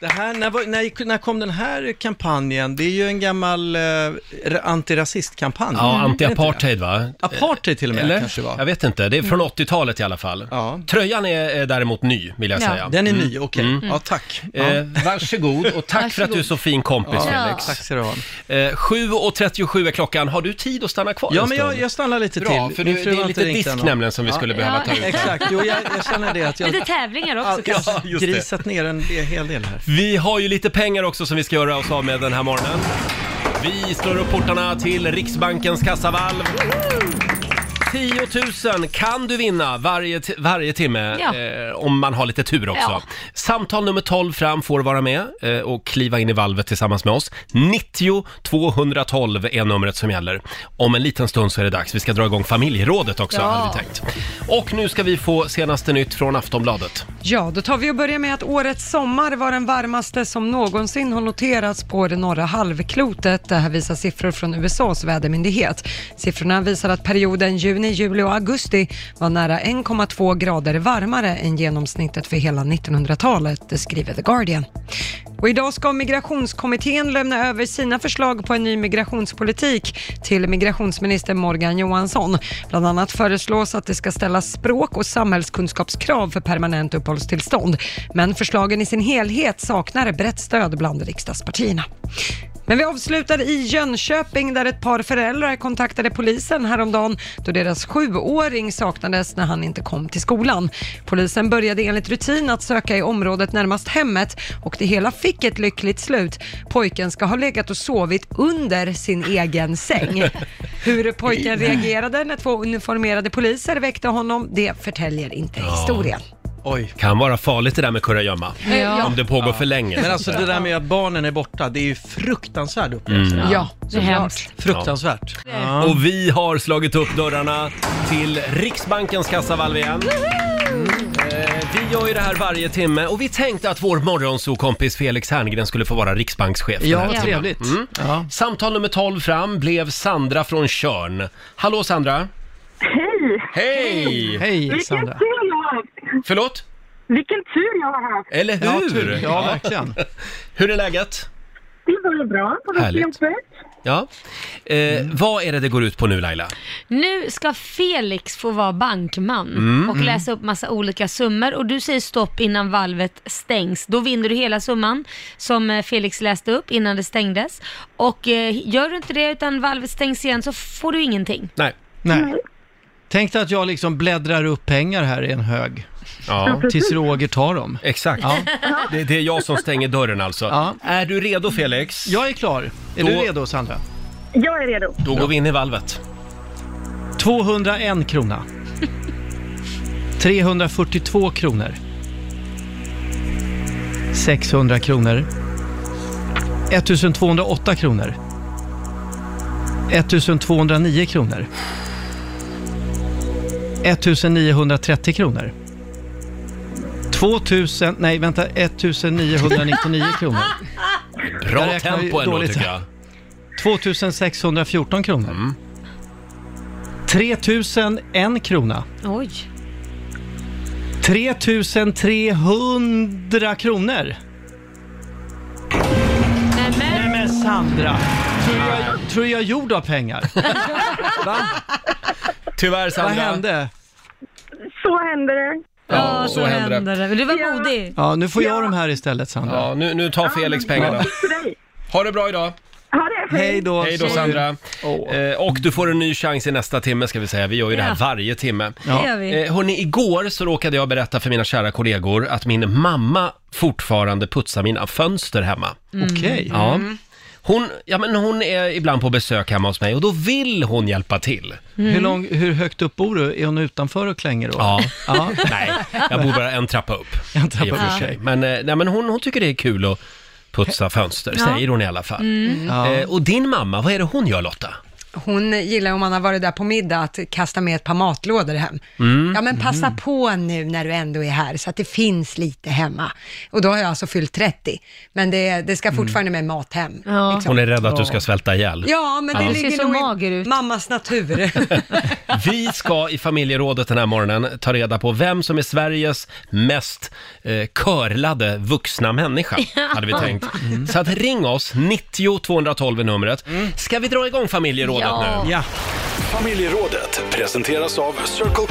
S11: Det här, när, var- när, när kom den här kampanjen? Det är ju en gammal eh, antirasistkampanj. Mm.
S1: Ja,
S11: Är det inte
S1: anti-apartheid va?
S11: Apartheid till och med
S1: Eller?
S11: kanske det var.
S1: Jag vet inte, det är
S4: Mm.
S1: från 80-talet i alla fall. Tröjan är, är däremot ny, vill jag
S11: Ja.
S1: säga.
S11: Den är ny, okej. Ja, tack. Ja.
S1: Mm. Eh, varsågod och tack för att
S11: Varsågod.
S1: du är så fin kompis
S11: Ja,
S1: Felix.
S11: tack ska du ha.
S1: Eh, 7.37 är klockan, har du tid att stanna kvar
S11: Ja,
S1: en
S11: men jag-
S1: stund?
S11: jag stannar lite
S1: Bra,
S11: till.
S1: för
S11: Min
S1: det,
S11: fru
S1: det
S11: har
S1: är
S11: inte
S1: lite
S11: ringt
S1: disk
S11: än, va?
S1: nämligen som vi
S11: Ja.
S1: skulle behöva
S11: Ja,
S1: ta ut.
S11: exakt. Jo, jag- jag känner det att jag-
S4: Lite tävlingar också
S11: Jag
S4: kanske.
S11: har
S1: just det.
S11: grisat ner en hel del här.
S1: Vi har ju lite pengar också som vi ska göra oss av med den här morgonen. Vi slår upp portarna till Riksbankens kassavalv. 10 000 kan du vinna varje, ti- varje timme
S5: Ja.
S1: eh, om man har lite tur också.
S5: Ja.
S1: Samtal nummer 12 fram får vara med eh, och kliva in i valvet tillsammans med oss. 90 212 är numret som gäller. Om en liten stund så är det dags. Vi ska dra igång familjerådet också
S2: Ja.
S1: hade vi tänkt. Och nu ska vi få senaste nytt från Aftonbladet.
S2: Ja, då tar vi och börjar med att årets sommar var den varmaste som någonsin har noterats på det norra halvklotet. Det här visar siffror från USAs vädermyndighet. Siffrorna visar att perioden juni, juli och augusti var nära 1,2 grader varmare än genomsnittet för hela 1900-talet, det skriver The Guardian. Och idag ska migrationskommittén lämna över sina förslag på en ny migrationspolitik till migrationsminister Morgan Johansson. Bland annat föreslås att det ska ställas språk och samhällskunskapskrav för permanent uppehållstillstånd. Men förslagen i sin helhet saknar brett stöd bland riksdagspartierna. Men vi avslutar i Jönköping där ett par föräldrar kontaktade polisen häromdagen då deras sjuåring saknades när han inte kom till skolan. Polisen började enligt rutin att söka i området närmast hemmet och det hela fick ett lyckligt slut. Pojken ska ha legat och sovit under sin egen säng. Hur pojken reagerade när två uniformerade poliser väckte honom, det förtäljer inte historien.
S11: Oj.
S1: Kan vara farligt det där med kurragömma.
S2: Ja.
S1: Om det pågår för länge.
S11: Men alltså det där med att barnen är borta, det är ju fruktansvärd upplevelse.
S1: Mm.
S2: Ja,
S4: det är hemskt.
S11: Fruktansvärt.
S1: Ja. Och vi har slagit upp dörrarna till Riksbankens kassavalv igen.
S11: Mm.
S1: Eh, Vi gör ju det här varje timme och vi tänkte att vår morgonsokompis Felix Herngren skulle få vara riksbankschef. den
S11: Ja,
S1: här
S11: vad
S1: timmen.
S11: trevligt.
S1: Mm. Samtal nummer 12 fram blev Sandra från Körn. Hallå Sandra!
S7: Hej!
S1: Hej!
S7: Vilken tur jag har haft!
S1: Förlåt?
S7: Vilken tur jag har haft!
S1: Eller hur?
S7: Ja, tur. Ja,
S11: verkligen.
S1: hur är läget?
S7: Det var bra. På
S1: Härligt.
S7: vägen upp.
S1: Ja. Eh,
S7: Mm.
S1: Vad är det det går ut på nu Laila?
S4: Nu ska Felix få vara bankman
S1: Mm.
S4: och
S1: Mm.
S4: läsa upp massa olika summor och du säger stopp innan valvet stängs. Då vinner du hela summan som eh, Felix läste upp innan det stängdes. Och eh, gör du inte det utan valvet stängs igen så får du ingenting.
S1: Nej.
S11: Nej. Tänk dig att jag liksom bläddrar upp pengar här i en hög.
S1: Ja.
S11: Tills Roger tar dem.
S1: Exakt.
S11: Ja.
S1: Det, det är jag som stänger dörren alltså. Är du redo Felix?
S11: Jag är klar. Är du redo Sandra?
S7: Jag är redo.
S1: Då går vi in i valvet.
S11: 201 krona. 342 kronor. 600 kronor. 1208 kronor. 1209 kronor. 1930 kronor. 2000, nej vänta, 1999 kronor.
S1: Bra
S11: Jag räknar ju
S1: tempo ändå
S11: dåligt
S1: tycker
S11: här.
S1: jag.
S11: 2614 kronor. 3001 krona.
S4: Oj.
S11: 3300 kronor. Nej men Sandra! Tror du jag, tror du jag är gjord av pengar?
S1: Tyvärr Sandra.
S11: Vad hände?
S7: Så händer det.
S4: Ja,
S1: så händer
S4: det. Men Du var modig.
S11: Ja, nu får jag de här istället Sandra.
S1: Ja, nu, nu tar Felix pengarna. Ha det bra idag!
S7: Ha det.
S11: Hej då!
S1: Hej då Sandra! Eh, och du får en ny chans i nästa timme ska vi säga. Vi gör ju det här
S4: Ja.
S1: varje timme.
S4: Ja. Det gör vi.
S1: Eh, hörni, igår så råkade jag berätta för mina kära kollegor att min mamma fortfarande putsar mina fönster hemma.
S11: Okej.
S1: Mm. Ja. Hon, ja, men hon är ibland på besök hemma hos mig och då vill hon hjälpa till.
S11: Hur, lång, hur högt upp bor du? Är hon utanför och klänger då?
S1: Mm. Ja.
S11: ja.
S1: Nej, jag bor bara en trappa upp.
S11: En trappa
S1: i och för
S11: upp.
S1: sig. Men, eh, nej, men hon, hon tycker det är kul att putsa fönster,
S2: Ja. Mm.
S1: säger hon i alla fall.
S11: Ja.
S1: Eh, och din mamma, vad är det hon gör Lotta?
S2: Hon gillar om man har varit där på middag att kasta med ett par matlådor hem.
S1: Mm.
S2: Ja men passa på nu när du ändå är här så att det finns lite hemma. Och då har jag alltså fyllt 30. Men det, det ska fortfarande med mat hem. liksom.
S4: Ja.
S1: Mm. Hon är rädd att du ska svälta ihjäl.
S2: Ja, men det
S4: Du ser
S2: ligger
S4: så
S2: nog i
S4: mager ut.
S2: mammas natur.
S1: Vi ska i familjerådet den här morgonen ta reda på vem som är Sveriges mest eh, körlade vuxna människa, hade vi tänkt.
S2: Mm.
S1: Så att ring oss, 90 212 är numret. Ska vi dra igång familjerådet
S4: Ja.
S1: nu?
S11: ja.
S8: Familjerådet presenteras av Circle K.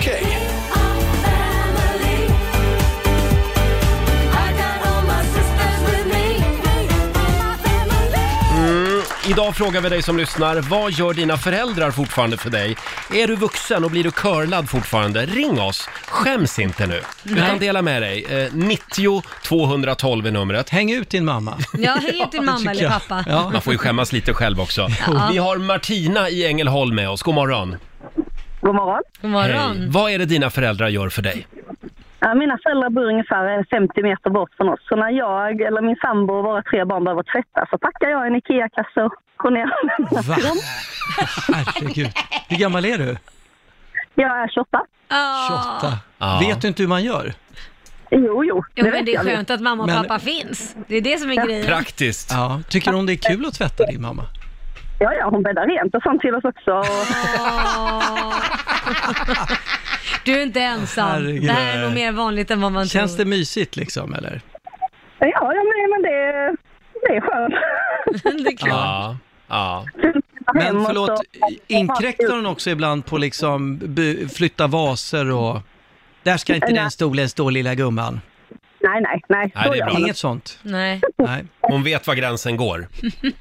S1: Idag frågar vi dig som lyssnar, vad gör dina föräldrar fortfarande för dig? Är du vuxen och blir du körlad fortfarande? Ring oss, skäms inte nu. Utan dela med dig. Eh, 90 212 är numret.
S11: Häng ut din mamma.
S4: Jag hänger till mamma
S11: tycker
S4: eller
S11: jag.
S4: pappa.
S11: Ja.
S1: Man får ju skämmas lite själv också. Vi har Martina i Ängelholm med oss, god morgon.
S7: God morgon.
S1: Hej.
S4: God morgon.
S1: Vad är det dina föräldrar gör för dig?
S7: Ja, Mina föräldrar bor ungefär 50 meter bort från oss. Så när jag eller min sambo och våra tre barn behöver tvätta så packar jag en IKEA-kasse och går ner och lämnar
S11: Va?
S7: till dem.
S11: Herregud. Hur gammal är du?
S7: Jag är 28.
S4: Ja.
S11: 28.
S1: Ja.
S11: Vet du inte hur man gör?
S7: Jo, jo.
S4: Jo, men det är
S7: jag ju.
S4: skönt att mamma och
S11: Men-
S4: pappa finns. Det är det som är grejen.
S1: Praktiskt.
S11: Ja. Tycker hon det är kul att tvätta din mamma?
S7: Ja, ja, hon bäddar rent och sånt till oss också. Och...
S4: Åh. Du är inte ensam.
S11: Herregud.
S4: Det här är nog mer vanligt än vad man
S11: Känns det
S4: tror.
S11: mysigt liksom eller?
S7: Ja, ja men, men det, det är skönt.
S4: det är klart.
S1: Ja. Ja.
S11: Men
S7: Hem och
S11: förlåt,
S7: så-
S11: inkräktar hon också ibland på liksom by- flytta vaser och... Där ska inte den stolen stå lilla gumman.
S7: Nej, nej, nej.
S1: Nej, det är
S7: Så gör
S1: bra.
S7: man
S11: Inget sånt?
S4: Nej.
S11: Nej.
S1: Hon vet var gränsen går.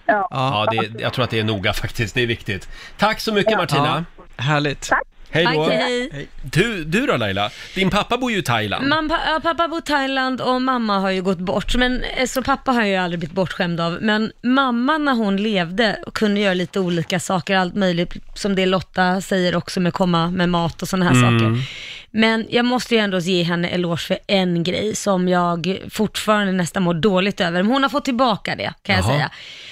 S11: Ja.
S1: Ja, det, jag tror att det är noga faktiskt, det är viktigt. Tack så mycket Martina.
S11: Härligt.
S1: Hej
S4: Okej,
S1: då.
S4: hej.
S1: Du, du då Laila? Din pappa bor ju i Thailand.
S4: Man, pa- ja, pappa bor i Thailand och mamma har ju gått bort, men, eh, så pappa har jag ju aldrig blivit bortskämd av. Men mamma när hon levde kunde göra lite olika saker, allt möjligt, som det Lotta säger också med komma med mat och sådana här saker. Men jag måste ju ändå ge henne eloge för en grej som jag fortfarande nästan mår dåligt över. Men hon har fått tillbaka det kan jag
S1: Jaha.
S4: säga.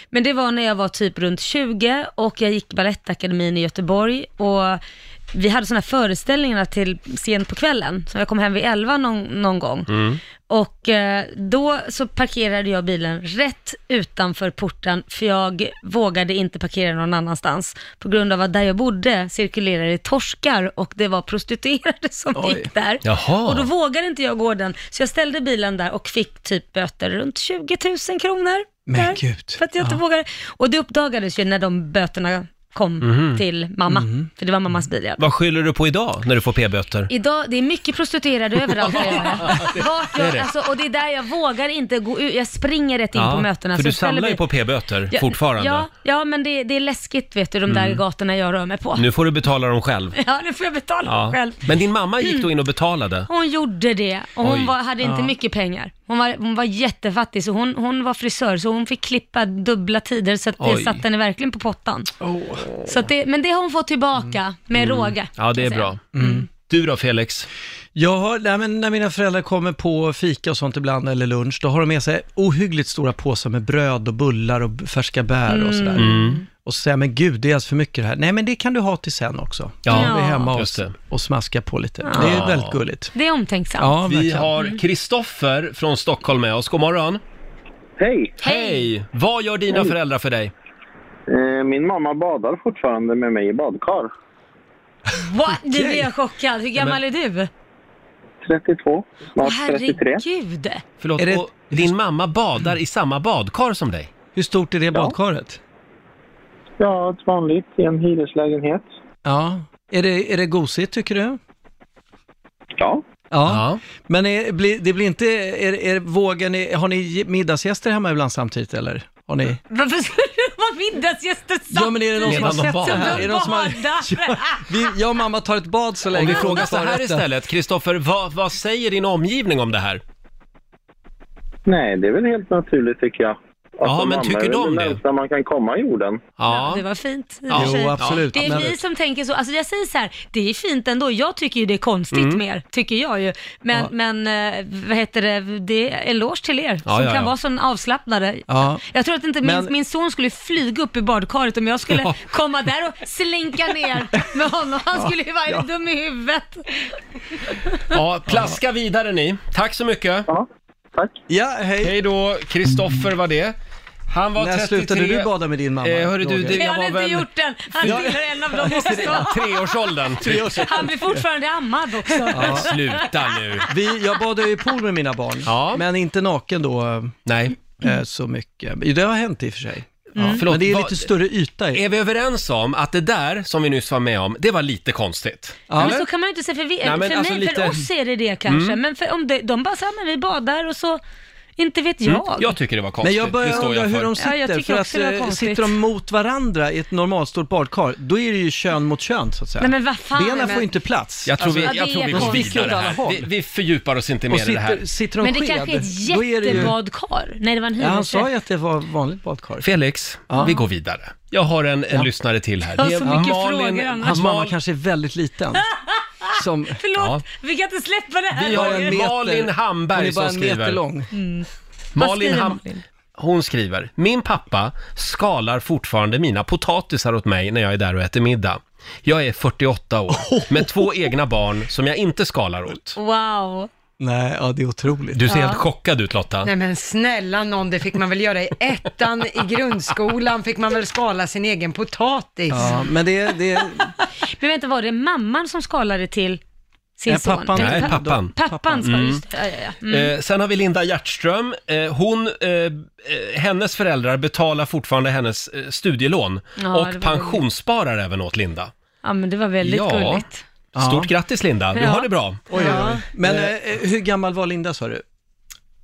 S4: Men det var när jag var typ runt 20 och jag gick Balettakademin i Göteborg och vi hade sådana föreställningar till sent på kvällen, så jag kom hem vid 11 någon, någon gång. Och eh, då så parkerade jag bilen rätt utanför porten, för jag vågade inte parkera någon annanstans. På grund av att där jag bodde cirkulerade torskar och det var prostituerade som
S11: Oj.
S4: gick där.
S1: Jaha.
S4: Och då vågade inte jag gå den, så jag ställde bilen där och fick typ böter runt 20 000 kronor.
S11: Men
S4: där.
S11: gud.
S4: För att jag inte
S11: Ja.
S4: vågade. Och det uppdagades ju när de böterna kom
S1: Mhm.
S4: till mamma.
S1: Mhm.
S4: För det var mammas bil. Ja.
S1: Vad skyller du på idag när du får p-böter?
S4: Idag, det är mycket prostituerade överallt där jag är. Vart
S1: Det är
S4: jag,
S1: det.
S4: alltså, och det är där jag vågar inte gå ut. Jag springer rätt in på mötena.
S1: för
S4: så
S1: du
S4: ställer
S1: samlar ju
S4: vi-
S1: på p-böter
S4: Ja,
S1: fortfarande.
S4: Ja, ja men det, det är läskigt vet du, de där
S1: Mm.
S4: gatorna jag rör mig på.
S1: Nu får du betala dem själv.
S4: Ja, nu får jag betala
S1: Ja.
S4: själv. Mm.
S1: Men din mamma gick då in och betalade.
S4: Hon gjorde det och hon
S1: Oj.
S4: var, hade inte
S1: Ja.
S4: mycket pengar. Hon var, hon var jättefattig så hon, hon var frisör så hon fick klippa dubbla tider så att det
S1: Oj.
S4: satte henne verkligen på pottan. Så att det, men det har hon fått tillbaka
S11: Mm.
S4: med råge.
S1: Ja, det är bra.
S4: Mm.
S1: Du då Felix?
S11: Ja, nej, men när mina föräldrar kommer på fika och sånt ibland, eller lunch, då har de med sig ohyggligt stora påsar med bröd och bullar och b- färska bär och sådär.
S1: Mm.
S11: Och så säger jag, men gud, det är alltså för mycket det här. Nej, men det kan du ha till sen också.
S1: Ja.
S11: Vi är hemma och,
S1: Just det.
S11: och smaskar på lite. Det är väldigt gulligt.
S4: Det är omtänksamt.
S11: Ja,
S1: Vi
S11: verkligen.
S4: Mm.
S1: har Kristoffer från Stockholm med oss. God morgon. Hej! Hej! Vad gör dina
S10: Hej.
S1: föräldrar för dig?
S10: Eh, Min mamma badar fortfarande med mig i badkar.
S4: What? Nu blir jag chockad. Hur gammal är du?
S10: 32, snart 33.
S4: Herregud.
S1: Förlåt,
S10: Är det-
S1: och din mamma badar i samma badkar som dig?
S11: Hur stort är det badkaret?
S10: Ja, ett vanligt i en hyreslägenhet.
S11: Ja. Är det, är det gosigt tycker du?
S10: Ja.
S11: Ja. Men är, blir, det blir inte, är, är, vågar ni, har ni middagsgäster hemma ibland samtidigt eller? Har ni?
S4: Varför skulle det vara middagsgäster samtidigt?
S11: Ja men är det någon som har sett det här? Är det någon som har...
S4: badar?
S11: Vi, jag och mamma tar ett bad så länge.
S1: Om vi
S11: på
S1: frågar så här
S11: förrätten.
S1: istället, Kristoffer, vad, vad säger din omgivning om det här?
S10: Nej, det är väl helt naturligt tycker jag. Alltså,
S1: Ja, men
S10: mamma
S1: tycker
S10: är väl
S1: de
S10: det?
S1: det?
S10: närmsta man kan komma jorden.
S4: Ja, det var fint i och
S10: Ja.
S4: för sig.
S10: Jo, absolut.
S4: Det är
S10: Men-
S4: vi som tänker så. Alltså jag säger så här, det är fint ändå. Jag tycker ju det är konstigt
S1: Mm.
S4: mer, tycker jag ju. Men,
S1: Ja.
S4: men eh, vad heter det, det är eloge till er
S1: Ja,
S4: som
S1: ja,
S4: kan
S1: ja.
S4: vara sån avslappnade.
S1: Ja.
S4: Jag tror att inte min,
S1: Men-
S4: min son skulle flyga upp i badkaret om jag skulle
S1: Ja.
S4: komma där och slinka ner med honom. Han
S1: Ja,
S4: skulle ju vara
S1: ja.
S4: dum i huvudet.
S1: Ja, plaska vidare ni. Tack så mycket. Ja, tack.
S11: Ja, hej.
S1: Hej då, Kristoffer var det. Han var
S11: När
S1: 33...
S11: slutade du bada med din mamma,
S1: Eh, hörru du,
S11: Roger?
S1: det,
S11: Det
S1: jag
S4: Han har
S1: var
S4: inte
S1: väl...
S4: gjort den. Han
S1: Ja.
S4: tillhör en av dem också.
S1: Treårsåldern. Treårsåldern.
S4: Han blir fortfarande ammad också.
S11: Ja.
S1: Sluta nu.
S11: Vi, jag badar ju i pool med mina barn, men inte naken då. eh,
S1: Nej.
S11: Så mycket. Det har hänt i och för sig.
S4: Mm.
S1: Ja, förlåt,
S11: men det är
S1: vad-
S11: lite större yta i.
S4: Eh,
S1: Är vi överens om att det där som vi nyss var med om, det var lite konstigt?
S4: Men
S1: Eller?
S4: så kan man ju inte säga, för, vi,
S1: Nej, men
S4: för
S1: alltså
S4: mig,
S1: lite-
S4: för oss är det det kanske.
S1: Mm.
S4: Men för, om de, de bara säger, men vi badar och så, inte vet jag.
S1: Mm. Jag tycker det var
S11: Men
S1: konstigt.
S11: jag börjar
S1: det står
S11: undra
S1: jag
S11: hur
S1: för.
S11: de sitter,
S4: Ja, jag tycker
S11: för att
S4: också det var
S11: eh,
S4: konstigt.
S11: sitter de mot varandra i ett normalt stort badkar, då är det ju kön mot kön så att säga.
S4: Nej, men vad fan,
S11: Benen
S4: men-
S11: får inte plats.
S1: Jag tror
S11: Alltså,
S1: vi, jag tror vi går
S11: de sticker åt
S1: vidare
S11: alla
S1: här.
S11: håll.
S1: Vi, vi fördjupar oss inte
S11: Och
S1: mer i det här.
S11: sitter- sitter
S4: Men det kanske är
S11: då
S4: ett
S11: är det ju-
S4: jättebadkar. Nej, det var en
S11: Ja, han
S4: hyresrätt.
S11: sa ju att det var vanligt badkar.
S1: Felix, vi går vidare. Jag har en, en lyssnare till här.
S4: Jag har
S1: Det är
S4: så mycket
S1: Malin-
S4: frågor annars.
S11: Hans mamma
S1: Mal-
S11: kanske är väldigt liten. Som...
S4: Förlåt, vi kan inte släppa det här.
S1: Vi har
S4: Roger.
S1: en Malin Hamberg
S11: Hon är bara
S1: som
S11: en meter
S1: skriver.
S11: lång.
S4: Mm. Vad
S1: Malin,
S4: skriver
S1: Ham- hon skriver, min pappa skalar fortfarande mina potatisar åt mig när jag är där och äter middag. Jag är 48 år med två egna barn som jag inte skalar åt.
S4: Wow.
S11: Nej, ja det är otroligt.
S1: Du ser
S2: Ja.
S1: helt chockad ut Lotta.
S2: Nej men snälla någon, det fick man väl göra i ettan i grundskolan, fick man väl skala sin egen potatis.
S11: Ja, men det, det,
S4: Men vänta, var det mamman som skalade till sin
S1: Nej,
S4: son?
S1: pappan. Nej, pappan.
S4: Pappan ska
S1: Mm.
S4: just det. ja, ja, ja. Mm.
S1: Eh, sen har vi Linda Hjertström. Eh, hon, eh, eh, hennes föräldrar betalar fortfarande hennes eh, studielån
S4: Ja, det var
S1: och pensionssparar även åt Linda.
S4: ja, men det var väldigt
S1: Ja.
S4: gulligt.
S1: Stort grattis Linda, du
S4: Ja.
S1: har det bra.
S11: oj, oj, oj. Men
S1: Eh,
S11: eh, hur gammal var Linda sa du?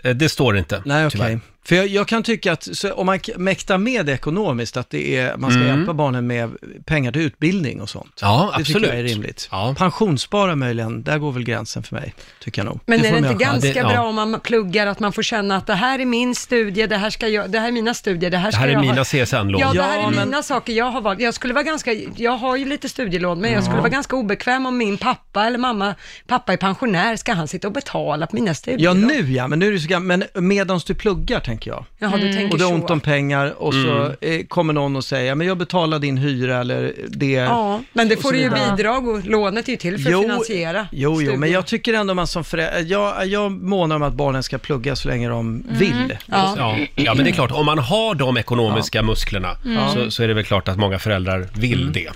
S1: Eh, det står inte,
S11: Nej, okej.
S1: tyvärr.
S11: För jag, jag kan tycka att så, om man k- mäktar med det ekonomiskt, att det är, man ska
S1: Mm.
S11: hjälpa barnen med pengar till utbildning och sånt.
S1: Ja,
S11: det
S1: absolut.
S11: tycker jag är rimligt. Pensionsspara möjligen, där går väl gränsen för mig, tycker jag nog.
S2: Men
S11: Det
S2: är
S11: får
S2: det
S11: de
S2: inte
S11: göra själva.
S2: ganska bra om man pluggar att man får känna att det här är min studie, det här, ska jag, det här är mina studier, det här
S1: Det
S2: ska
S1: här är
S2: jag
S1: mina
S2: ha.
S1: CSN-lån.
S2: Ja, det här
S1: Ja,
S2: är
S1: men-
S2: mina saker jag har valt. Jag skulle vara ganska, jag har ju lite studielån, men jag skulle
S1: Ja.
S2: vara ganska obekväm om min pappa eller mamma, pappa är pensionär, ska han sitta och betala på mina studier?
S11: Ja, nu ja, men nu är det så gammalt. Men medan du pluggar, tänker jag.
S2: Jaha, du Mm. tänker
S11: och du har
S2: så.
S11: ont om pengar och så
S2: Mm.
S11: eh, kommer någon och säger, "Ja, men jag betalar din hyra eller det.
S2: Ja, men det
S11: och
S2: får
S11: så
S2: du ju
S11: vidare.
S2: bidrag och lånet är ju till för att finansiera
S11: Jo, jo,
S2: studier.
S11: men jag tycker ändå man som förälder, jag, jag månar om att barnen ska plugga så länge de
S2: Mm.
S11: vill.
S2: Ja.
S1: Ja. ja, men det är klart, om man har de ekonomiska musklerna
S11: Mm.
S1: så, så är det väl klart att många föräldrar vill det.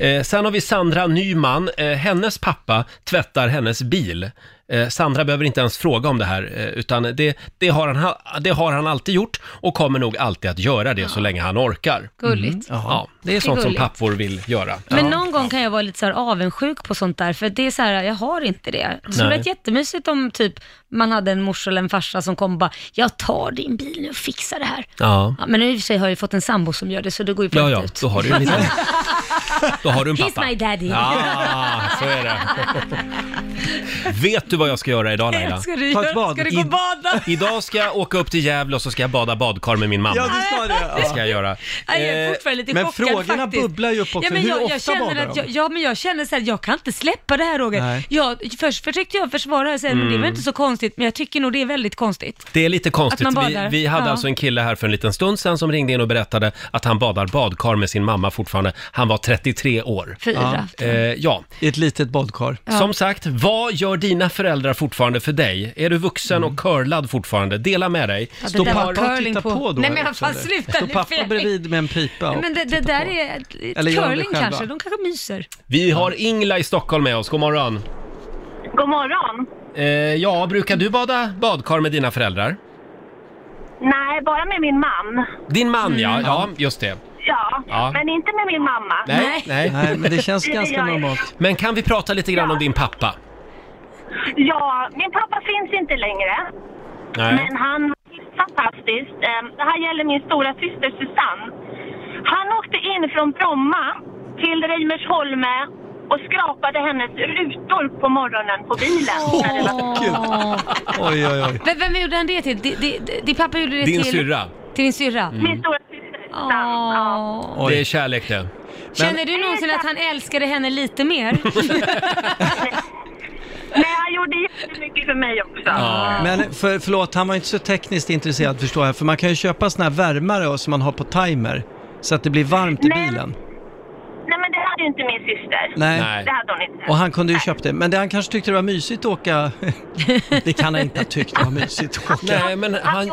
S1: Eh, sen har vi Sandra Nyman. Eh, hennes pappa tvättar hennes bil Eh, Sandra behöver inte ens fråga om det här, eh, utan det, det, har han, ha- det har han alltid gjort och kommer nog alltid att göra det så länge han orkar.
S4: Gulligt.
S1: Mm. Ja, det är sånt som pappor vill göra.
S4: Men någon gång kan jag vara lite så här avundsjuk på sånt där, för det är så här, jag har inte det. Så det
S1: Nej.
S4: lät jättemysigt om typ man hade en morsa eller en farsa som kom och bara, jag tar din bil nu och fixar det här.
S1: Ja.
S4: Ja, men nu i och för sig har jag ju fått en sambo som gör det, så det går ju platt
S1: Ja, ja,
S4: ut.
S1: då har du en liten... Då har du en pappa.
S4: He's my daddy.
S1: Ja, så är det. Vet du vad jag ska göra idag Laila?
S4: Ska du göra- Ska du gå och bada?
S1: I, idag ska jag åka upp till Gävle och så ska jag bada badkar med min mamma.
S4: Ja, du ska det, ja.
S1: Det ska jag göra.
S4: Nej, jag är
S1: Eh,
S4: fortfarande lite chockad faktiskt. ja, men jag, jag känner att jag, Ja, men jag känner så här, jag kan inte släppa det här Roger.
S1: Nej.
S4: Jag, först försökte jag försvara det, mm. men det är
S1: Mm.
S4: väl inte så konstigt, men jag tycker nog det är väldigt konstigt.
S1: Det är lite konstigt.
S4: Att man
S1: Vi,
S4: badar.
S1: vi hade
S4: Ja.
S1: alltså en kille här för en liten stund sedan som ringde in och berättade att han badar badkar med sin mamma fortfarande. Han var 33 år.
S11: Fyra.
S1: Ja. Eh, ja.
S11: I ett litet badkar.
S1: Som sagt, vad gör dina föräldrar fortfarande för dig? Är du vuxen och curlad fortfarande? Dela med dig.
S4: Mm. Ja, det där var curling på. Nej, men
S11: eller?
S4: fan, sluta
S11: Står
S4: nu,
S11: pappa
S4: Fredrik.
S11: bredvid med en pipa och
S4: men det, det
S11: tittar
S4: där
S11: på.
S4: är ett-
S1: Eller gör de det
S4: curling
S1: själva?
S4: kanske, de kanske myser.
S1: Vi har Ingla i Stockholm med oss. God morgon.
S7: God morgon.
S1: Eh, ja, brukar du bada badkar med dina föräldrar?
S7: Nej, bara med min man.
S1: Din man
S4: Mm.
S1: ja, ja, just det.
S7: Ja,
S1: Ja.
S7: men inte med min mamma. gör jag.
S1: Men kan vi prata lite grann om din pappa?
S7: Ja, min pappa finns inte längre.
S1: Nej.
S7: Men han var fantastisk. Eh, Det här gäller min stora syster Susanne. Han åkte in från Bromma till Reimersholme och skrapade hennes rutor på morgonen på bilen. när det var-
S11: Oj, oj, oj.
S4: Vem, vem gjorde han det till? Di- di- di- Din pappa gjorde det
S1: Din
S4: till...
S1: syrra.
S4: Till din syrra?
S1: Mm. Min
S7: stora
S4: syster.
S1: Det är kärlek det.
S4: Känner du någonsin att han älskade henne lite mer?
S7: Nej, han gjorde jättemycket för mig också.
S11: Men för, förlåt, han var inte så tekniskt intresserad förstår jag, för man kan ju köpa såna här värmare och- som man har på timer, så att det blir varmt i
S7: Nej.
S11: bilen.
S7: Nej, men det hade ju inte min syster.
S11: Nej. Nej.
S7: Det hade hon inte.
S11: Och han kunde ju köpt det, men det, han kanske tyckte det var mysigt att åka... det kan han inte ha tyckt det var mysigt att åka.
S1: Nej, men han,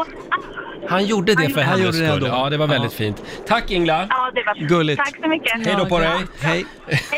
S1: han gjorde det för
S11: Han
S1: hennes
S11: gjorde det
S1: skull.
S11: ändå.
S1: Ja, det var väldigt fint. Tack Ingla!
S7: Ja, det var
S1: Gulligt.
S7: Tack så mycket.
S1: Hej då på dig!
S11: Hej!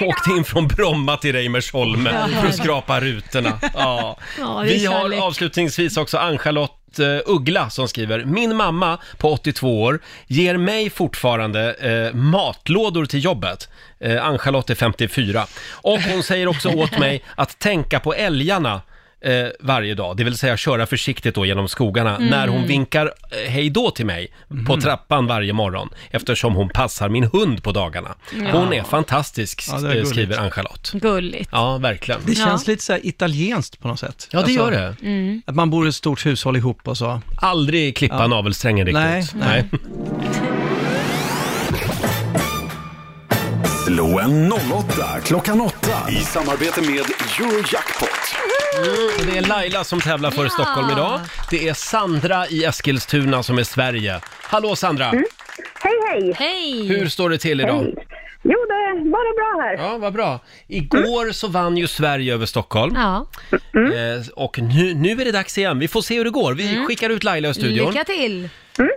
S1: Åkte in från Bromma till Reimersholme
S7: Ja.
S1: för att skrapa rutorna. Ja.
S5: Ja, det är
S1: Vi har
S5: kärlek.
S1: avslutningsvis också Ann-Charlotte eh, Uggla som skriver, min mamma på 82 år ger mig fortfarande eh, matlådor till jobbet. Eh, Ann-Charlotte är 54. Och hon säger också åt mig att tänka på älgarna eh, varje dag, det vill säga köra försiktigt då genom skogarna
S5: Mm.
S1: när hon vinkar eh, hej då till mig på
S11: Mm.
S1: trappan varje morgon eftersom hon passar min hund på dagarna. Hon
S11: Ja.
S1: är fantastisk eh,
S11: Ja, det är gulligt.
S1: skriver Ann-Charlotte.
S4: Gulligt.
S1: Ja, verkligen.
S11: Det känns lite så här italienskt på något sätt. Alltså,
S1: Ja, det gör det. Mm.
S11: Att man bor i ett stort hushåll ihop och så.
S1: Aldrig klippa
S11: Ja.
S1: navelsträngen riktigt.
S11: Nej, nej.
S3: Slå en 08 klockan 8 i samarbete med Eurojackpot.
S1: Och Det är Laila som tävlar för Stockholm idag. Det är Sandra i Eskilstuna som är Sverige. Hallå Sandra!
S12: Hej, hej!
S4: Hej!
S1: Hur står det till idag?
S12: Hej. Jo, det är bara bra här.
S1: Ja, vad bra. Igår så vann ju Sverige över Stockholm.
S4: Ja.
S1: Eh, och nu, nu är det dags igen. Vi får se hur det går. Vi skickar ut Laila i studion.
S4: Lycka till!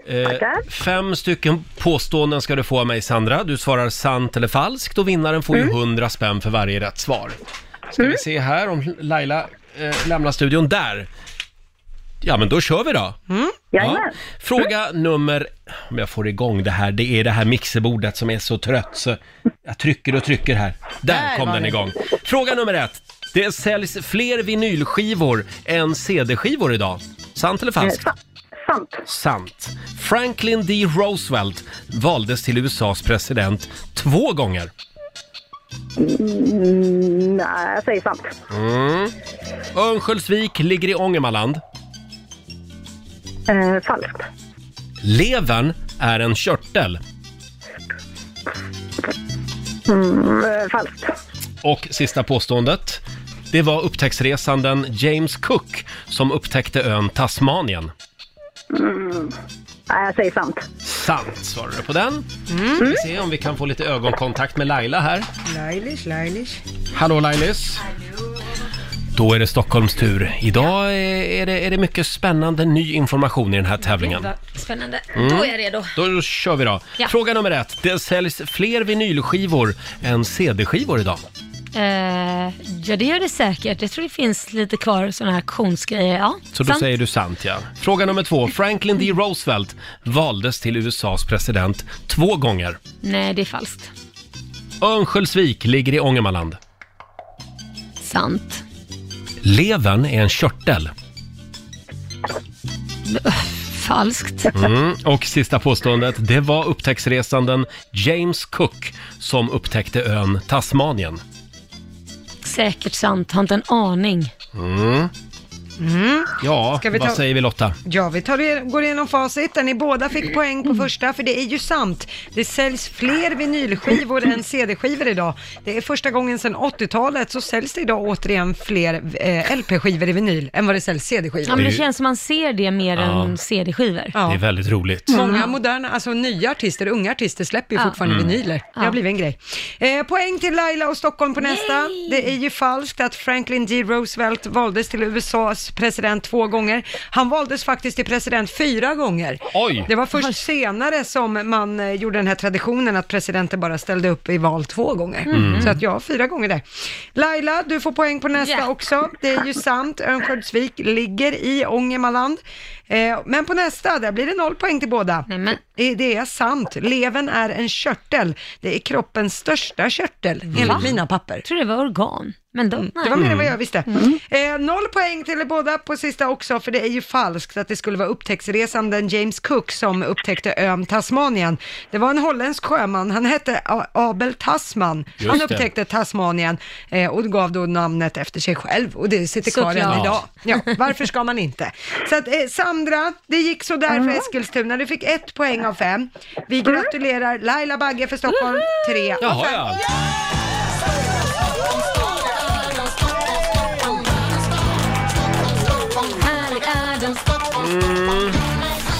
S1: Eh, fem stycken påståenden ska du få av mig Sandra. Du svarar sant eller falskt och vinnaren får
S5: Mm.
S1: ju 100 spänn för varje rätt svar. Ska vi se här om Laila eh, lämnar studion. Där! Ja men då kör vi då!
S5: Mm.
S1: Ja. Fråga nummer, om jag får igång det här, det är det här mixerbordet som är så trött så jag trycker och trycker här. Där,
S5: Där
S1: kom
S5: var
S1: den
S5: den.
S1: igång. Fråga nummer ett. Det säljs fler vinylskivor än CD-skivor idag. Sant eller
S5: Eh,
S1: falskt?
S12: Sant.
S1: Sant. Franklin D. Roosevelt valdes till USAs president två gånger.
S12: Mm, nej, jag säger sant.
S1: Mm. Örnsköldsvik ligger i Ångermanland.
S12: Eh, falskt.
S1: Levern är en körtel.
S12: Mm, eh, falskt.
S1: Och sista påståendet. Det var upptäcktsresanden James Cook som upptäckte ön Tasmanien.
S12: Mm, nej, jag säger sant.
S1: Sant svarade du på den. Ska vi se om vi kan få lite ögonkontakt med Laila här.
S2: Lailish, lailish.
S1: Hallå Lailis! Då är det Stockholms tur. Idag är är det, är det mycket spännande ny information i den här tävlingen.
S4: Vad Spännande.
S1: Mm.
S4: Då är jag redo.
S1: Då kör vi då.
S4: Ja.
S1: Fråga nummer ett. Det säljs fler vinylskivor än CD-skivor idag.
S4: Eh, ja, det gör det säkert. Jag tror det finns lite kvar sådana här auktionsgrejer. Ja,
S1: Så då
S4: sant.
S1: säger du sant, ja. Fråga nummer två. Franklin D. Roosevelt valdes till USAs president två gånger.
S4: Nej, det är falskt.
S1: Örnsköldsvik ligger i Ångermanland.
S4: Sant.
S1: Levern är en körtel.
S4: Falskt.
S1: Mm. Och sista påståendet. Det var upptäcktsresanden James Cook som upptäckte ön Tasmanien.
S4: Säkert sant. Har inte en aning.
S1: Mm. Ja,
S2: Ska vi
S1: vad
S2: ta-
S1: säger vi Lotta?
S2: Ja, vi tar, det- går igenom facit. Ni båda fick poäng på första, för det är ju sant. Det säljs fler vinylskivor än CD-skivor idag. Det är första gången sedan 80-talet så säljs det idag återigen fler eh, LP-skivor i vinyl än vad det säljs CD-skivor.
S4: Ja, men det känns som man ser det mer
S1: Ja.
S4: än CD-skivor.
S1: Det är väldigt roligt.
S2: Många moderna, alltså nya artister, unga artister släpper ju
S4: Ja.
S2: fortfarande
S1: Mm.
S2: vinyler. Det har
S4: Ja.
S2: blivit en grej. Eh, poäng till Laila och Stockholm på nästa. Det är ju falskt att Franklin D. Roosevelt valdes till USAs president två gånger. Han valdes faktiskt till president fyra gånger.
S1: Oj.
S2: Det var först senare som man eh, gjorde den här traditionen att presidenter bara ställde upp i val två gånger.
S5: Mm.
S2: Så att ja, fyra gånger där. Laila, du får poäng på nästa
S5: Ja.
S2: också. Det är ju sant. Örnsköldsvik ligger i Ångermanland. Eh, men på nästa, där blir det noll poäng till båda. Eh, Det är sant. Levern är en körtel. Det är kroppens största körtel,
S5: Mm.
S2: enligt
S4: Va?
S2: mina papper. Jag
S4: tror det var organ. Men då,
S2: Det var mer än vad jag
S4: Mm.
S2: visste. Eh, noll poäng till er båda på sista också, för det är ju falskt att det skulle vara upptäcktsresanden James Cook som upptäckte ön Tasmanien. Det var en holländsk sjöman, han hette A- Abel Tasman.
S5: Just
S2: han
S5: det.
S2: upptäckte Tasmanien eh, och gav då namnet efter sig själv och det sitter kvar än
S5: Såklart.
S2: idag. Ja, varför ska man inte? Så att, eh, Sandra, det gick sådär för Eskilstuna. Du fick ett poäng av fem. Vi gratulerar Laila Bagge för Stockholm, tre av
S1: Jaha,
S2: fem.
S1: ja. Mm.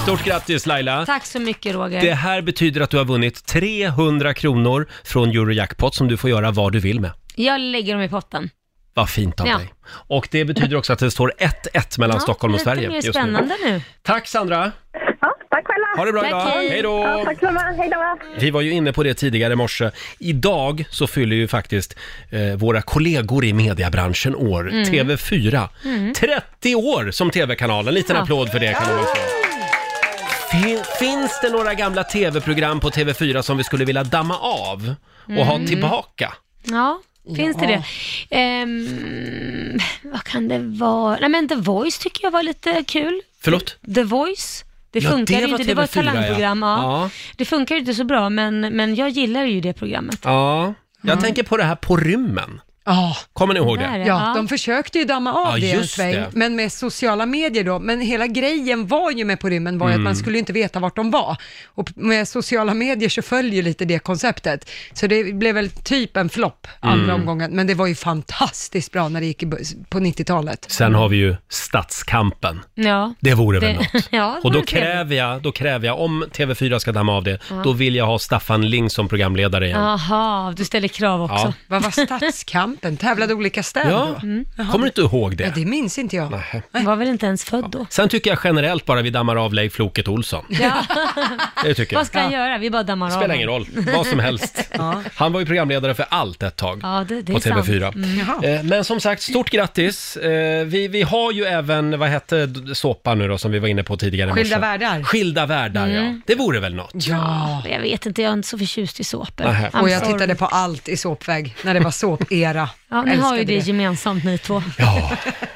S1: Stort grattis Laila!
S4: Tack så mycket Roger.
S1: Det här betyder att du har vunnit 300 kronor från Eurojackpot som du får göra vad du vill med.
S4: Jag lägger dem i potten.
S1: Vad fint av
S4: Ja.
S1: dig. Och det betyder också att det står 1-1 mellan
S4: Ja,
S1: Stockholm och Sverige
S4: Lite mer
S1: just
S4: spännande nu.
S1: Tack Sandra!
S12: Tack själva!
S1: Ha det bra idag. Hej då.
S12: Ja, tack samma, hej då!
S1: Vi var ju inne på det tidigare i morse. Idag så fyller ju faktiskt eh, våra kollegor i mediebranschen år.
S5: Mm.
S1: TV4.
S5: Mm.
S1: 30 år som TV-kanal. En liten
S5: Ja.
S1: applåd för det kan man väl få. Fin, finns det några gamla TV-program på TV4 som vi skulle vilja damma av och ha
S4: Mm.
S1: tillbaka?
S4: Ja, finns det
S1: Ja.
S4: det? Ehm, vad kan det vara? Nej men The Voice tycker jag var lite kul.
S1: Förlåt?
S4: The Voice. Det
S1: Ja,
S4: funkar
S1: det
S4: ju
S1: var
S4: inte, det var ett
S1: TV4, ja.
S4: talangprogram. Ja.
S1: Ja.
S4: Det funkar ju inte så bra, men, men jag gillar ju det programmet.
S1: Ja, jag tänker på det här På rymmen.
S2: Ja.
S1: Kommer ni ihåg
S4: Där,
S1: det?
S2: Ja, de försökte ju damma
S1: Ja,
S2: av det en
S1: just
S2: sväng,
S1: det.
S2: men med sociala medier då. Men hela grejen var ju med På rymmen var ju
S1: Mm.
S2: att man skulle ju inte veta vart de var. Och p- med sociala medier så följer ju lite det konceptet. Så det blev väl typ en flopp andra
S1: Mm.
S2: omgången, men det var ju fantastiskt bra när det gick i bu- på 90-talet.
S1: Sen har vi ju Stadskampen.
S4: Ja.
S1: Det vore väl något.
S4: ja,
S1: Och
S4: det
S1: då
S4: var trevligt.
S1: kräver, jag, då kräver jag, om TV4 ska damma av det,
S4: Ja.
S1: då vill jag ha Staffan Ling som programledare igen.
S4: Jaha, du ställer krav också.
S1: Ja.
S2: Vad var stadskampen? Tävlade olika städer
S1: Ja.
S2: då?
S4: Mm.
S2: Jaha.
S1: Kommer du inte ihåg det?
S2: Ja, det minns inte jag.
S1: Nähä.
S4: Var väl inte ens född då?
S1: Sen tycker jag generellt bara vi dammar av Leif Loket Olsson.
S4: Ja.
S1: Det tycker jag.
S4: Vad ska han göra? Vi bara dammar av
S1: Spelar
S4: honom.
S1: ingen roll, vad som helst. Han var ju programledare för allt ett tag
S4: Ja, det, det är
S1: på TV4.
S4: Sant. Mm.
S1: Eh, Men som sagt, stort grattis. Eh, Vi, vi har ju även, vad hette d- såpan nu då som vi var inne på tidigare i morse?
S4: Skilda världar.
S1: Skilda världar, ja.
S4: Mm.
S1: Det vore väl något?
S2: Ja.
S4: Jag vet inte, jag är inte så förtjust i såpor.
S1: Nähä.
S4: I'm
S2: Och jag
S4: sorry.
S2: tittade på allt i såpväg, när det var såpera.
S4: Ja, ni har
S2: Älskade
S4: ju det, gemensamt ni två.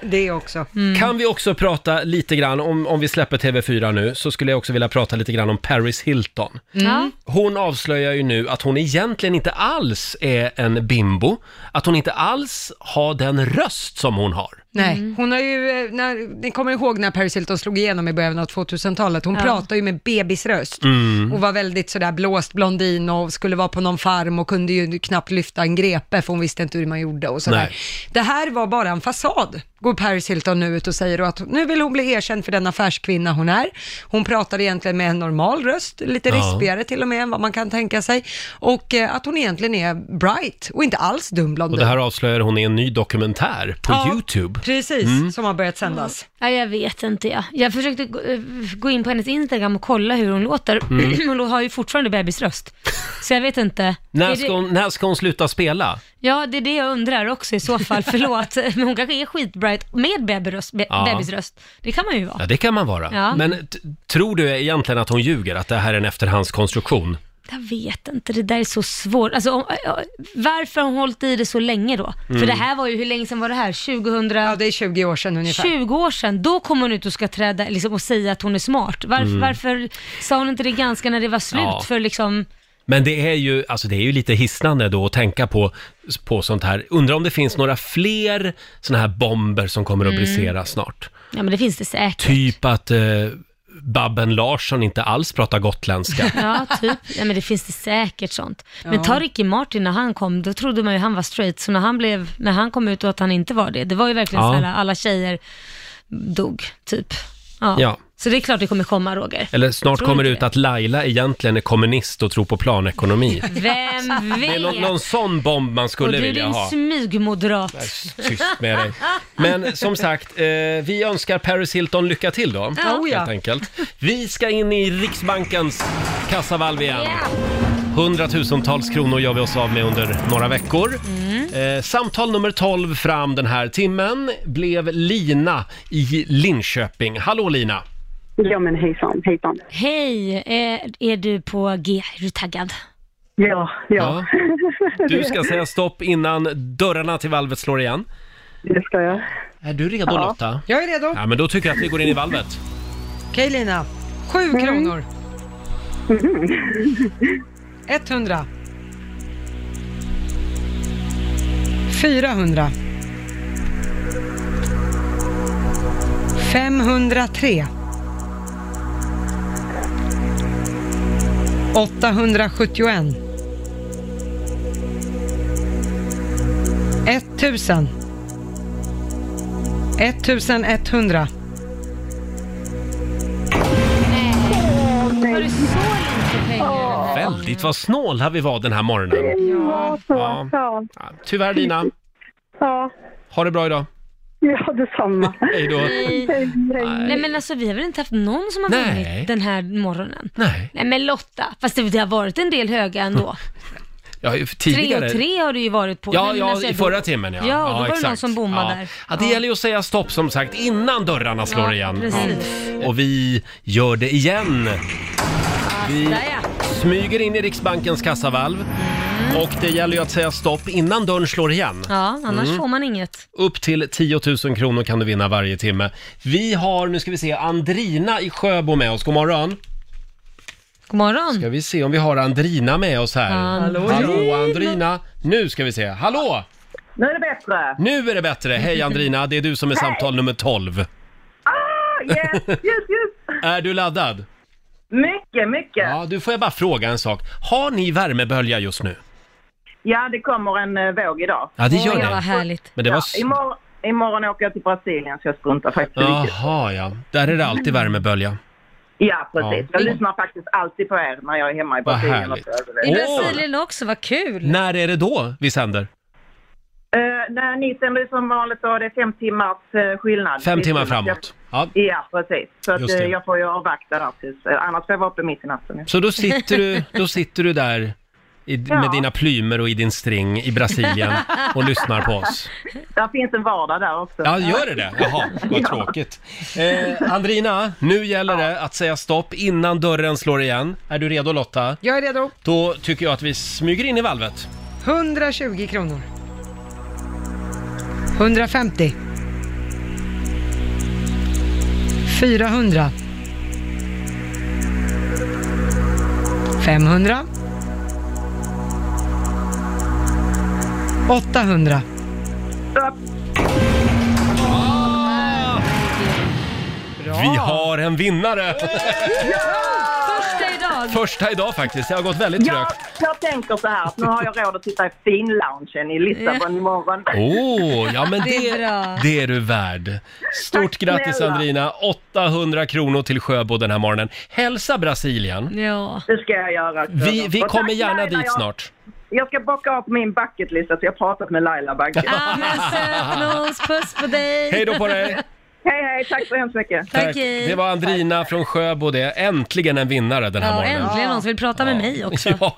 S2: Det också.
S4: Mm.
S1: Kan vi också prata lite grann, om, om vi släpper TV4 nu, så skulle jag också vilja prata lite grann om Paris Hilton.
S2: Mm.
S4: Ja.
S1: Hon avslöjar ju nu att hon egentligen inte alls är en bimbo, att hon inte alls har den röst som hon har.
S2: Nej, hon har ju, eh, när, ni kommer ihåg när Paris Hilton slog igenom i början av 2000-talet, hon
S4: Ja.
S2: pratade ju med bebisröst
S5: Mm.
S2: och var väldigt sådär blåst blondin och skulle vara på någon farm och kunde ju knappt lyfta en grepe för hon visste inte hur man gjorde och sådär.
S5: Nej.
S2: Det här var bara en fasad, går Paris Hilton nu ut och säger och att nu vill hon bli erkänd för den affärskvinna hon är. Hon pratar egentligen med en normal röst, lite
S5: Ja.
S2: rispigare till och med än vad man kan tänka sig och eh, att hon egentligen är bright och inte alls dum blondin.
S1: Och det här avslöjar hon i en ny dokumentär på
S2: Ja,
S1: YouTube.
S2: Precis,
S1: Mm.
S2: som har börjat sändas.
S4: Ja, jag vet inte jag. Jag försökte gå- eh, gå in på hennes Instagram och kolla hur hon låter.
S1: Mm.
S4: hon har ju fortfarande bebisröst. Så jag vet inte.
S1: När
S4: Är
S1: ska,
S4: det-
S1: hon, när ska hon sluta spela?
S4: Ja, det är det jag undrar också i så fall. Förlåt, men hon kanske är skitbright med bebisröst. Be-
S1: Ja.
S4: bebisröst. Det kan man ju vara.
S1: Ja, det kan man vara.
S4: Ja.
S1: Men t- tror du egentligen att hon ljuger, att det här är en efterhandskonstruktion?
S4: Jag vet inte, det där är så svårt. Alltså, om, äh, varför har hon hållit i det så länge då?
S1: Mm.
S4: För det här var ju, hur länge sedan var det här? 2000... Ja,
S2: det er är 20 år sedan ungefär.
S4: 20 år sedan, då kom hon ut och ska träda liksom, och säga att hon är smart. Varför,
S1: Mm.
S4: varför sa hon inte det ganska när det var slut?
S1: Ja.
S4: För liksom,
S1: Men det är ju, alltså det är ju lite hisnande då att tänka på, på sånt här. Undrar om det finns några fler såna här bomber som kommer att
S4: Mm.
S1: brisera snart.
S4: ja men det finns det säkert.
S1: Typ att eh, Babben Larsson inte alls pratar gotländska.
S4: Ja, typ. Ja, men det finns det säkert sånt. Men
S1: Ja.
S4: ta Ricky Martin när han kom, då trodde man ju han var straight. Så när han, blev, när han kom ut och att han inte var det, det var ju verkligen
S1: Ja.
S4: så här, alla tjejer dog, typ. Ja.
S1: Ja.
S4: Så det är klart det kommer komma, Roger.
S1: Eller snart
S4: Tror
S1: kommer det
S4: du
S1: ut att Laila egentligen är kommunist och tror på planekonomi.
S4: Vem vet?
S1: Det är någon, någon sån bomb man
S4: och
S1: skulle
S4: du är
S1: vilja
S4: din
S1: ha.
S4: smygmoderat.
S1: Tyst med dig. Men som sagt, eh, vi önskar Paris Hilton lycka till då.
S4: Ja. Oh, ja.
S1: Helt enkelt. Vi ska in i Riksbankens kassavalv igen. Hundratusentals kronor gör vi oss av med under några veckor.
S4: Mm.
S1: Eh, samtal nummer 12 fram den här timmen blev Lina i Linköping. Hallå Lina!
S12: Ja men hejsan, hejsan.
S4: Hej, är, är du på G? Är du taggad?
S12: Ja, ja.
S1: Du ska säga stopp innan dörrarna till valvet slår igen.
S12: Det ska jag.
S1: Är du redo
S2: Ja. er
S1: Lotta?
S2: Jag är redo.
S1: Ja, men då tycker jag att vi går in i valvet.
S2: Okej Lina, 7 kronor. 100. 400. 503. 871. 1000. 1100.
S4: Har du så lite pengar?
S1: Väldigt vad snåla vi var den här morgonen.
S12: Ja, så.
S1: Ja.
S12: Ja.
S1: Tyvärr Lina,
S12: Ja,
S1: ha det bra idag.
S12: ja detsamma.
S1: Hej då.
S4: Nej. Nej men alltså vi har väl inte haft någon som har
S1: Nej.
S4: vunnit den här morgonen?
S1: Nej.
S4: Nej men Lotta, fast det, det har varit en del höga ändå.
S1: Ja, ju-
S4: Tre
S1: tidigare.
S4: och tre har du ju varit på.
S1: Ja,
S4: Nej, men
S1: ja
S4: alltså,
S1: i
S4: jag-
S1: förra timmen ja.
S4: Ja, och då var det någon
S1: exakt.
S4: som bommade
S1: ja.
S4: där.
S1: Ja, det
S4: Ja.
S1: gäller ju att säga stopp som sagt innan dörrarna slår
S4: Ja,
S1: igen.
S4: precis.
S1: Ja. Och vi gör det igen. Vi
S4: där, ja.
S1: smyger in i Riksbankens kassavalv. Och det gäller ju att säga stopp innan dörren slår igen.
S4: Ja, annars
S1: Mm.
S4: får man inget.
S1: Upp till 10 000 kronor kan du vinna varje timme. Vi har, nu ska vi se, Andrina i Sjöbo med oss. God morgon.
S4: God morgon.
S1: Ska vi se om vi har Andrina med oss här.
S4: Hallå.
S1: Hallå Andrina. Nu ska vi se. Hallå!
S13: Nu är det bättre.
S1: Nu är det bättre. Hej Andrina, det är du som är
S13: Hej.
S1: samtal nummer 12.
S13: Ah, yes, yes, yes.
S1: Är du laddad?
S13: Mycket, mycket.
S1: Ja, du får jag bara fråga en sak. Har ni värmebölja just nu?
S13: Ja, det kommer en eh, våg idag.
S1: Ja, det gör Oj, det. vad härligt. Men det var s-
S13: ja, imorgon, imorgon åker jag till Brasilien så jag struntar faktiskt i vilket.
S1: Jaha, ja. Där är det alltid värmebölja.
S13: Ja, precis.
S1: Ja.
S13: Jag lyssnar faktiskt alltid på er när jag är hemma i
S1: Vad
S13: Brasilien.
S1: härligt.
S4: I
S1: Åh.
S4: Brasilien också, vad kul.
S1: När är det då vi sänder?
S13: Uh, när ni sänder som vanligt då, det är fem timmars eh, skillnad.
S1: Fem timmar
S13: Visst,
S1: framåt. Ja.
S13: jag- Ja, precis. Så att,
S1: Just det.
S13: eh, jag får ju avvakta där tills, eh, annars får jag vara uppe mitt i natten.
S1: Så då sitter du, då sitter du där i,
S13: Ja.
S1: med dina plymer och i din string i Brasilien och lyssnar på oss.
S13: Där finns en vardag där också.
S1: Ja, gör det det? Jaha, vad tråkigt. Eh, Andrina, nu gäller det att säga stopp innan dörren slår igen. Är du redo Lotta?
S2: Jag är redo.
S1: Då tycker jag att vi smyger in i valvet.
S2: 120 kronor. 150. 400. 500. 800.
S1: Vi
S13: Ah.
S1: har en vinnare!
S4: Första idag.
S1: Första idag faktiskt, det har gått väldigt
S13: Jag,
S1: trögt.
S13: jag tänker så här, att nu har jag råd att sitta i finloungen i Lissabon imorgon.
S1: Åh, ja men
S13: Det
S1: det,
S13: är bra.
S1: det är du värd. Stort
S13: Tack
S1: grattis
S13: snälla.
S1: Andrina, 800 kronor till Sjöbo den här morgonen. Hälsa Brasilien!
S4: Ja.
S13: Det ska jag göra.
S1: Vi, vi
S13: Och
S1: kommer
S13: tack,
S1: gärna
S13: Laila,
S1: dit
S13: jag-
S1: snart.
S13: Jag ska bocka av på min bucketlista, så jag har pratat med Laila Bagge.
S4: Puss på dig.
S1: Hej då på dig.
S13: Hej, hej. Tack så hemskt mycket.
S1: Det var Andrina från Sjöbo det. Äntligen en vinnare den här
S4: Ja,
S1: morgonen.
S4: äntligen någon som vill prata med mig också.
S1: Ja.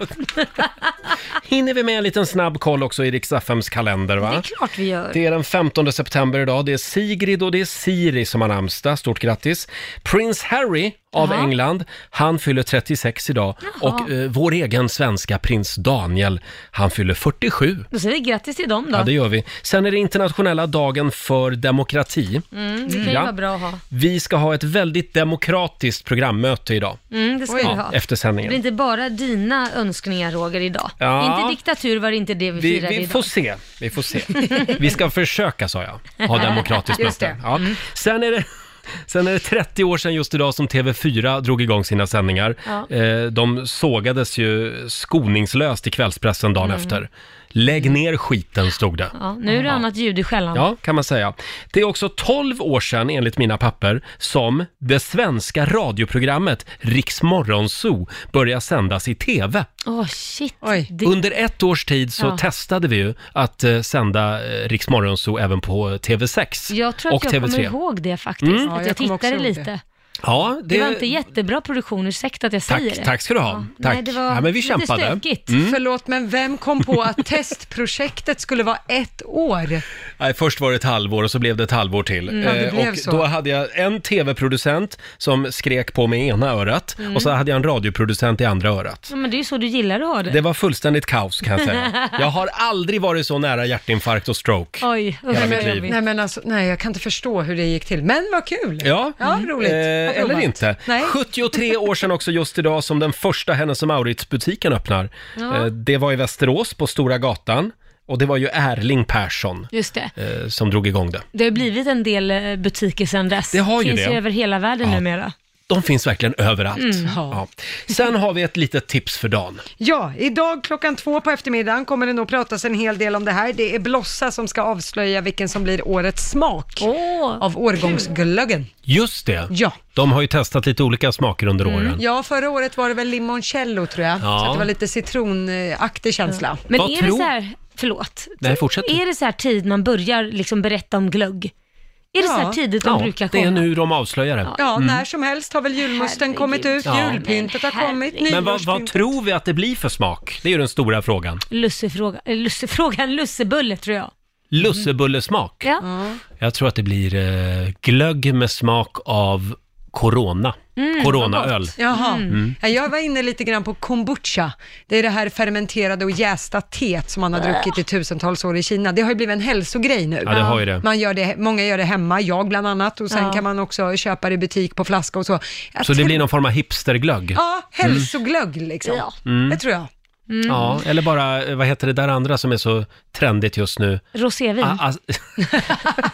S1: Hinner vi med en liten snabb koll också i Riks-FMs kalender va?
S4: Det är klart vi gör.
S1: Det är den 15 september idag. Det är Sigrid och det är Siri som har namnsdag. Stort grattis! Prins Harry av
S4: Jaha.
S1: England, han fyller 36 idag.
S4: Jaha.
S1: Och eh, vår egen svenska prins Daniel, han fyller 47.
S4: Då säger vi grattis till dem då.
S1: Ja, det gör vi. Sen är det internationella dagen för demokrati.
S4: Mm, det kan ju
S1: Ja.
S4: vara bra att ha.
S1: Vi ska ha ett väldigt demokratiskt programmöte idag.
S4: Mm, det ska
S1: Oj.
S4: vi
S1: Ja,
S4: ha.
S1: efter sändningen.
S4: Det är inte bara dina önskningar Roger idag.
S1: Ja.
S4: Inte diktatur var det inte det vi,
S1: Vi,
S4: firade
S1: vi
S4: idag.
S1: får se. Vi får se. Vi ska försöka, sa jag, ha demokratiskt
S4: Just
S1: möte.
S4: det.
S1: Ja. Sen, är det, sen är det 30 år sedan just idag som TV4 drog igång sina sändningar.
S5: Ja.
S1: Eh, De sågades ju skoningslöst i kvällspressen dagen
S4: Mm.
S1: efter. Lägg ner skiten, stod det.
S4: Ja, nu är det annat ljud i skällan.
S1: Ja, kan man säga. Det är också 12 år sedan, enligt mina papper, som det svenska radioprogrammet Riks Morgonzoo började sändas i TV.
S4: Åh shit. Det...
S1: Under ett års tid så
S4: Ja.
S1: testade vi ju att eh, sända eh, Rix Morgonzoo även på TV6
S4: Jag tror
S1: och
S4: att jag
S1: TV3.
S4: kommer ihåg det faktiskt.
S1: Mm. Ja,
S4: Att
S1: jag
S4: jag
S1: kommer också
S4: tittade
S1: ihåg det.
S4: lite. Det.
S1: Ja, det,
S4: var inte jättebra produktion, ursäkta att jag
S1: Tack,
S4: säger det.
S1: tack ska du ha. Tack.
S4: Nej, det var
S1: Ja, men vi
S4: lite
S1: kämpade.
S4: stökigt.
S1: Mm.
S2: Förlåt, men vem kom på att testprojektet skulle vara ett år?
S1: Nej, först var det ett halvår och så blev det ett halvår till.
S2: Mm. Ja, det
S1: Eh,
S2: blev
S1: och
S2: så.
S1: Då hade jag en TV-producent som skrek på mig i ena örat
S4: Mm.
S1: och så hade jag en radioproducent i andra örat.
S4: Ja, men det är ju så du gillar att ha det.
S1: Det var fullständigt kaos kan jag säga. Jag har aldrig varit så nära hjärtinfarkt och stroke.
S4: Oj,
S1: Hela
S2: nej,
S1: mitt
S2: men,
S1: liv.
S2: nej, men alltså, nej, jag kan inte förstå hur det gick till, men vad kul!
S1: Ja,
S2: ja roligt.
S1: Eh,
S2: Vad
S1: eller
S2: provat.
S1: inte.
S2: Nej.
S1: 73 år sedan också just idag som den första Hennes och Mauritz-butiken öppnar.
S4: Ja.
S1: Eh, det var i Västerås på Stora gatan och det var ju Erling Persson
S4: Just det.
S1: eh, som drog igång det.
S4: Det har blivit en del eh, butiker sedan dess.
S1: Det har ju
S4: finns
S1: det.
S4: ju över hela världen numera.
S1: De finns verkligen överallt.
S4: Mm.
S1: Ja. Sen har vi ett litet tips för dagen.
S2: Ja, idag klockan två på eftermiddagen kommer det nog pratas en hel del om det här. Det är Blossa som ska avslöja vilken som blir årets smak av årgångsglöggen.
S1: Just det.
S2: Ja. Mm,
S1: De har ju testat lite olika smaker under åren.
S2: Ja, förra året var det väl limoncello tror jag,
S1: Ja.
S2: så att det var lite citronaktig känsla.
S1: Men Vad är det tror- så
S4: här- Förlåt.
S1: Nej, fortsätt.
S4: Är det så här tid man börjar liksom berätta om glögg? Är det så här tidigt de
S1: ja,
S4: brukar komma?
S1: det är nu de avslöjar det.
S2: Ja,
S1: Mm.
S2: när som helst har väl julmusten kommit ut,
S1: Ja.
S2: julpyntet har kommit,
S1: Men vad, vad
S2: nyårspyntet.
S1: tror vi att det blir för smak? Det är ju den stora frågan.
S4: Lussefråga, eh, lussefrågan, lussebulle tror jag.
S1: Lussebullesmak.
S4: Ja.
S1: Jag tror att det blir eh, glögg med smak av corona.
S4: Mm,
S1: Coronaöl.
S2: Jaha.
S1: Mm.
S2: Ja, Jag var inne lite grann på kombucha. Det är det här fermenterade och jästa teet som man har druckit
S4: Äh.
S2: i tusentals år i Kina. Det har ju blivit en hälsogrej nu.
S1: Ja, det har ju det.
S2: Man gör det. Många gör det hemma, jag bland annat, och sen
S1: Ja.
S2: kan man också köpa det i butik på flaska och så. Jag
S1: Så det
S2: tror-
S1: blir någon form av hipsterglögg?
S2: Ja, hälsoglögg liksom.
S1: Mm.
S2: Det tror jag.
S1: Mm. Ja, eller bara, eh, vad heter det där andra som är så trendigt just nu?
S4: Rosévin.
S1: A- as-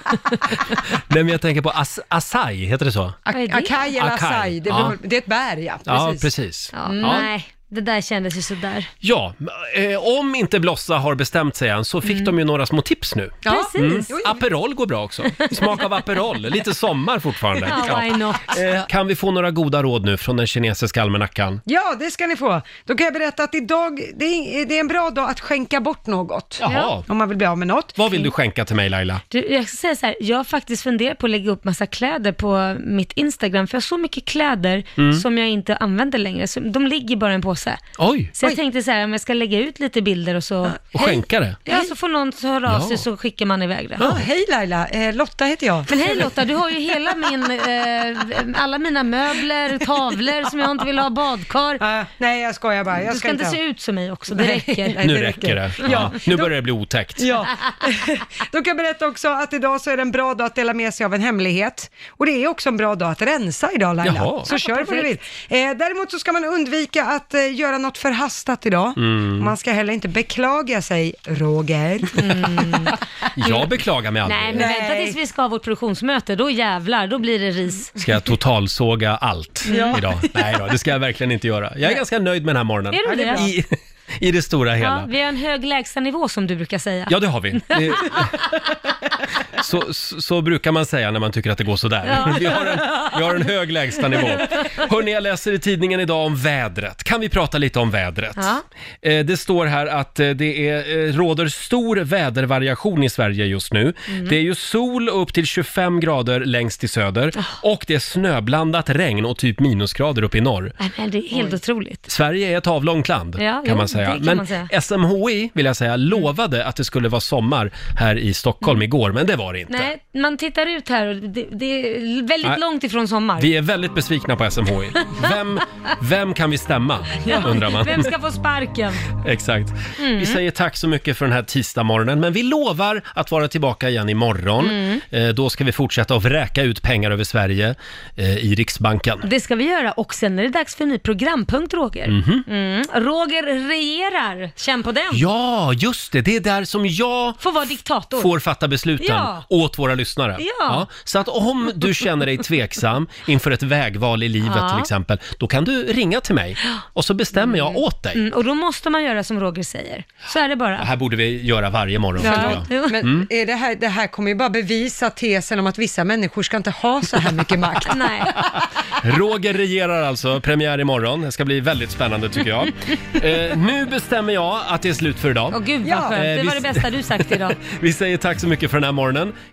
S1: Nej, men jag tänker på as- acai, heter det så?
S4: Vad är det?
S2: Acai eller
S1: Acai,
S2: acai, det,
S1: ja.
S2: det är ett bär ja.
S1: Ja,
S2: Precis.
S1: precis.
S4: Ja,
S1: Ja.
S4: Nej, det där kändes ju sådär.
S1: Ja, eh, om inte Blossa har bestämt sig än så
S4: Mm.
S1: fick de ju några små tips nu.
S4: Ja. Precis.
S1: Mm.
S4: Jo,
S1: Aperol går bra också. Smak av Aperol, lite sommar fortfarande.
S4: Ja, why not?
S1: Eh, Kan vi få några goda råd nu från den kinesiska almanackan?
S2: Ja, det ska ni få. Då kan jag berätta att idag, det är, det är en bra dag att skänka bort något.
S1: Jaha.
S2: Om man vill bli av med något.
S1: Vad vill du skänka till mig Laila?
S4: Du, jag ska säga så här, jag har faktiskt funderat på att lägga upp massa kläder på mitt Instagram, för jag har så mycket kläder
S1: Mm.
S4: som jag inte använder längre, så de ligger bara i en påse.
S1: Oj!
S4: Så jag tänkte så här, om jag ska lägga ut lite bilder och så...
S1: Och skänka det?
S4: Ja, så får någon höra av
S1: Ja.
S4: sig så skickar man iväg det.
S2: Ja, Ah, hej Laila, eh, Lotta heter jag.
S4: Men hej Lotta, du har ju hela min, eh, alla mina möbler, tavlor som jag inte vill ha, badkar.
S2: Ah, nej, jag skojar bara. Jag
S4: du
S2: ska
S4: ska
S2: inte
S4: inte
S2: ha.
S4: se ut som mig också, det
S2: Nej,
S4: räcker.
S2: nej,
S1: nu räcker det. Ja. Nu börjar det bli otäckt.
S2: Ja. Då kan jag berätta också att idag så är det en bra dag att dela med sig av en hemlighet. Och det är också en bra dag att rensa idag Laila.
S1: Jaha.
S2: Så kör vad du vill. Eh, däremot så ska man undvika att eh, göra något förhastat idag.
S1: Mm.
S2: Man ska heller inte beklaga sig, Roger.
S4: Mm.
S1: Jag beklagar mig aldrig.
S4: Nej, men vänta tills vi ska ha vårt produktionsmöte, då jävlar, då blir det ris.
S1: Ska jag totalsåga allt
S4: Ja.
S1: idag? Nej då, det ska jag verkligen inte göra. Jag är ganska nöjd med den här morgonen.
S4: Är du det?
S1: I, I det stora hela.
S4: Ja, vi har en hög lägstanivå som du brukar säga.
S1: Ja, det har vi. Det- Så, så, så brukar man säga när man tycker att det går sådär.
S5: Ja.
S1: Vi, har en, vi har en hög lägstanivå. Hörni, jag läser i tidningen idag om vädret. Kan vi prata lite om vädret?
S5: Ja.
S1: Eh, Det står här att eh, det är, eh, råder stor vädervariation i Sverige just nu.
S5: Mm.
S1: Det är ju sol upp till 25 grader längst i söder
S5: Ah.
S1: och det är snöblandat regn och typ minusgrader uppe i norr.
S4: Nej, men det är helt otroligt.
S1: Sverige är ett avlångt land
S4: Ja, jo,
S1: kan man
S4: det
S1: säga.
S4: kan
S1: men
S4: man säga. Mm.
S1: SMHI, vill jag säga, lovade att det skulle vara sommar här i Stockholm igår, men det var det inte.
S4: Nej, man tittar ut här och det, det är väldigt
S1: Nej.
S4: långt ifrån sommar.
S1: Vi är väldigt besvikna på SMHI. Vem, vem kan vi stämma, undrar man.
S4: Vem ska få sparken?
S1: Exakt.
S4: Mm.
S1: Vi säger tack så mycket för den här tisdagmorgonen, men vi lovar att vara tillbaka igen imorgon.
S4: Mm.
S1: Eh, då ska vi fortsätta att vräka ut pengar över Sverige eh, i Riksbanken.
S4: Det ska vi göra och sen är det dags för en ny programpunkt Roger.
S1: Mhm.
S4: Mm. Roger regerar, känn på den.
S1: Ja, just det! Det är där som jag
S4: Får vara diktator.
S1: får fatta besluten
S4: Ja.
S1: åt våra lyssnare.
S4: Ja.
S1: Så att om du känner dig tveksam inför ett vägval i livet
S4: Ja.
S1: till exempel, då kan du ringa till mig och så bestämmer jag åt dig.
S4: Mm, och då måste man göra som Roger säger. Så är det
S1: Det
S4: bara.
S1: här borde vi göra varje morgon.
S2: Ja,
S1: tycker jag.
S2: men
S1: Mm.
S2: är det, här, det här kommer ju bara bevisa tesen om att vissa människor ska inte ha så här mycket makt.
S4: Nej.
S1: Roger regerar alltså, premiär imorgon. Det ska bli väldigt spännande tycker jag. Eh, nu bestämmer jag att det är slut för idag.
S4: Åh gud vad skönt,
S1: Eh,
S4: det
S1: vi-
S4: var det bästa du sagt idag.
S1: Vi säger tack så mycket för den här morgonen.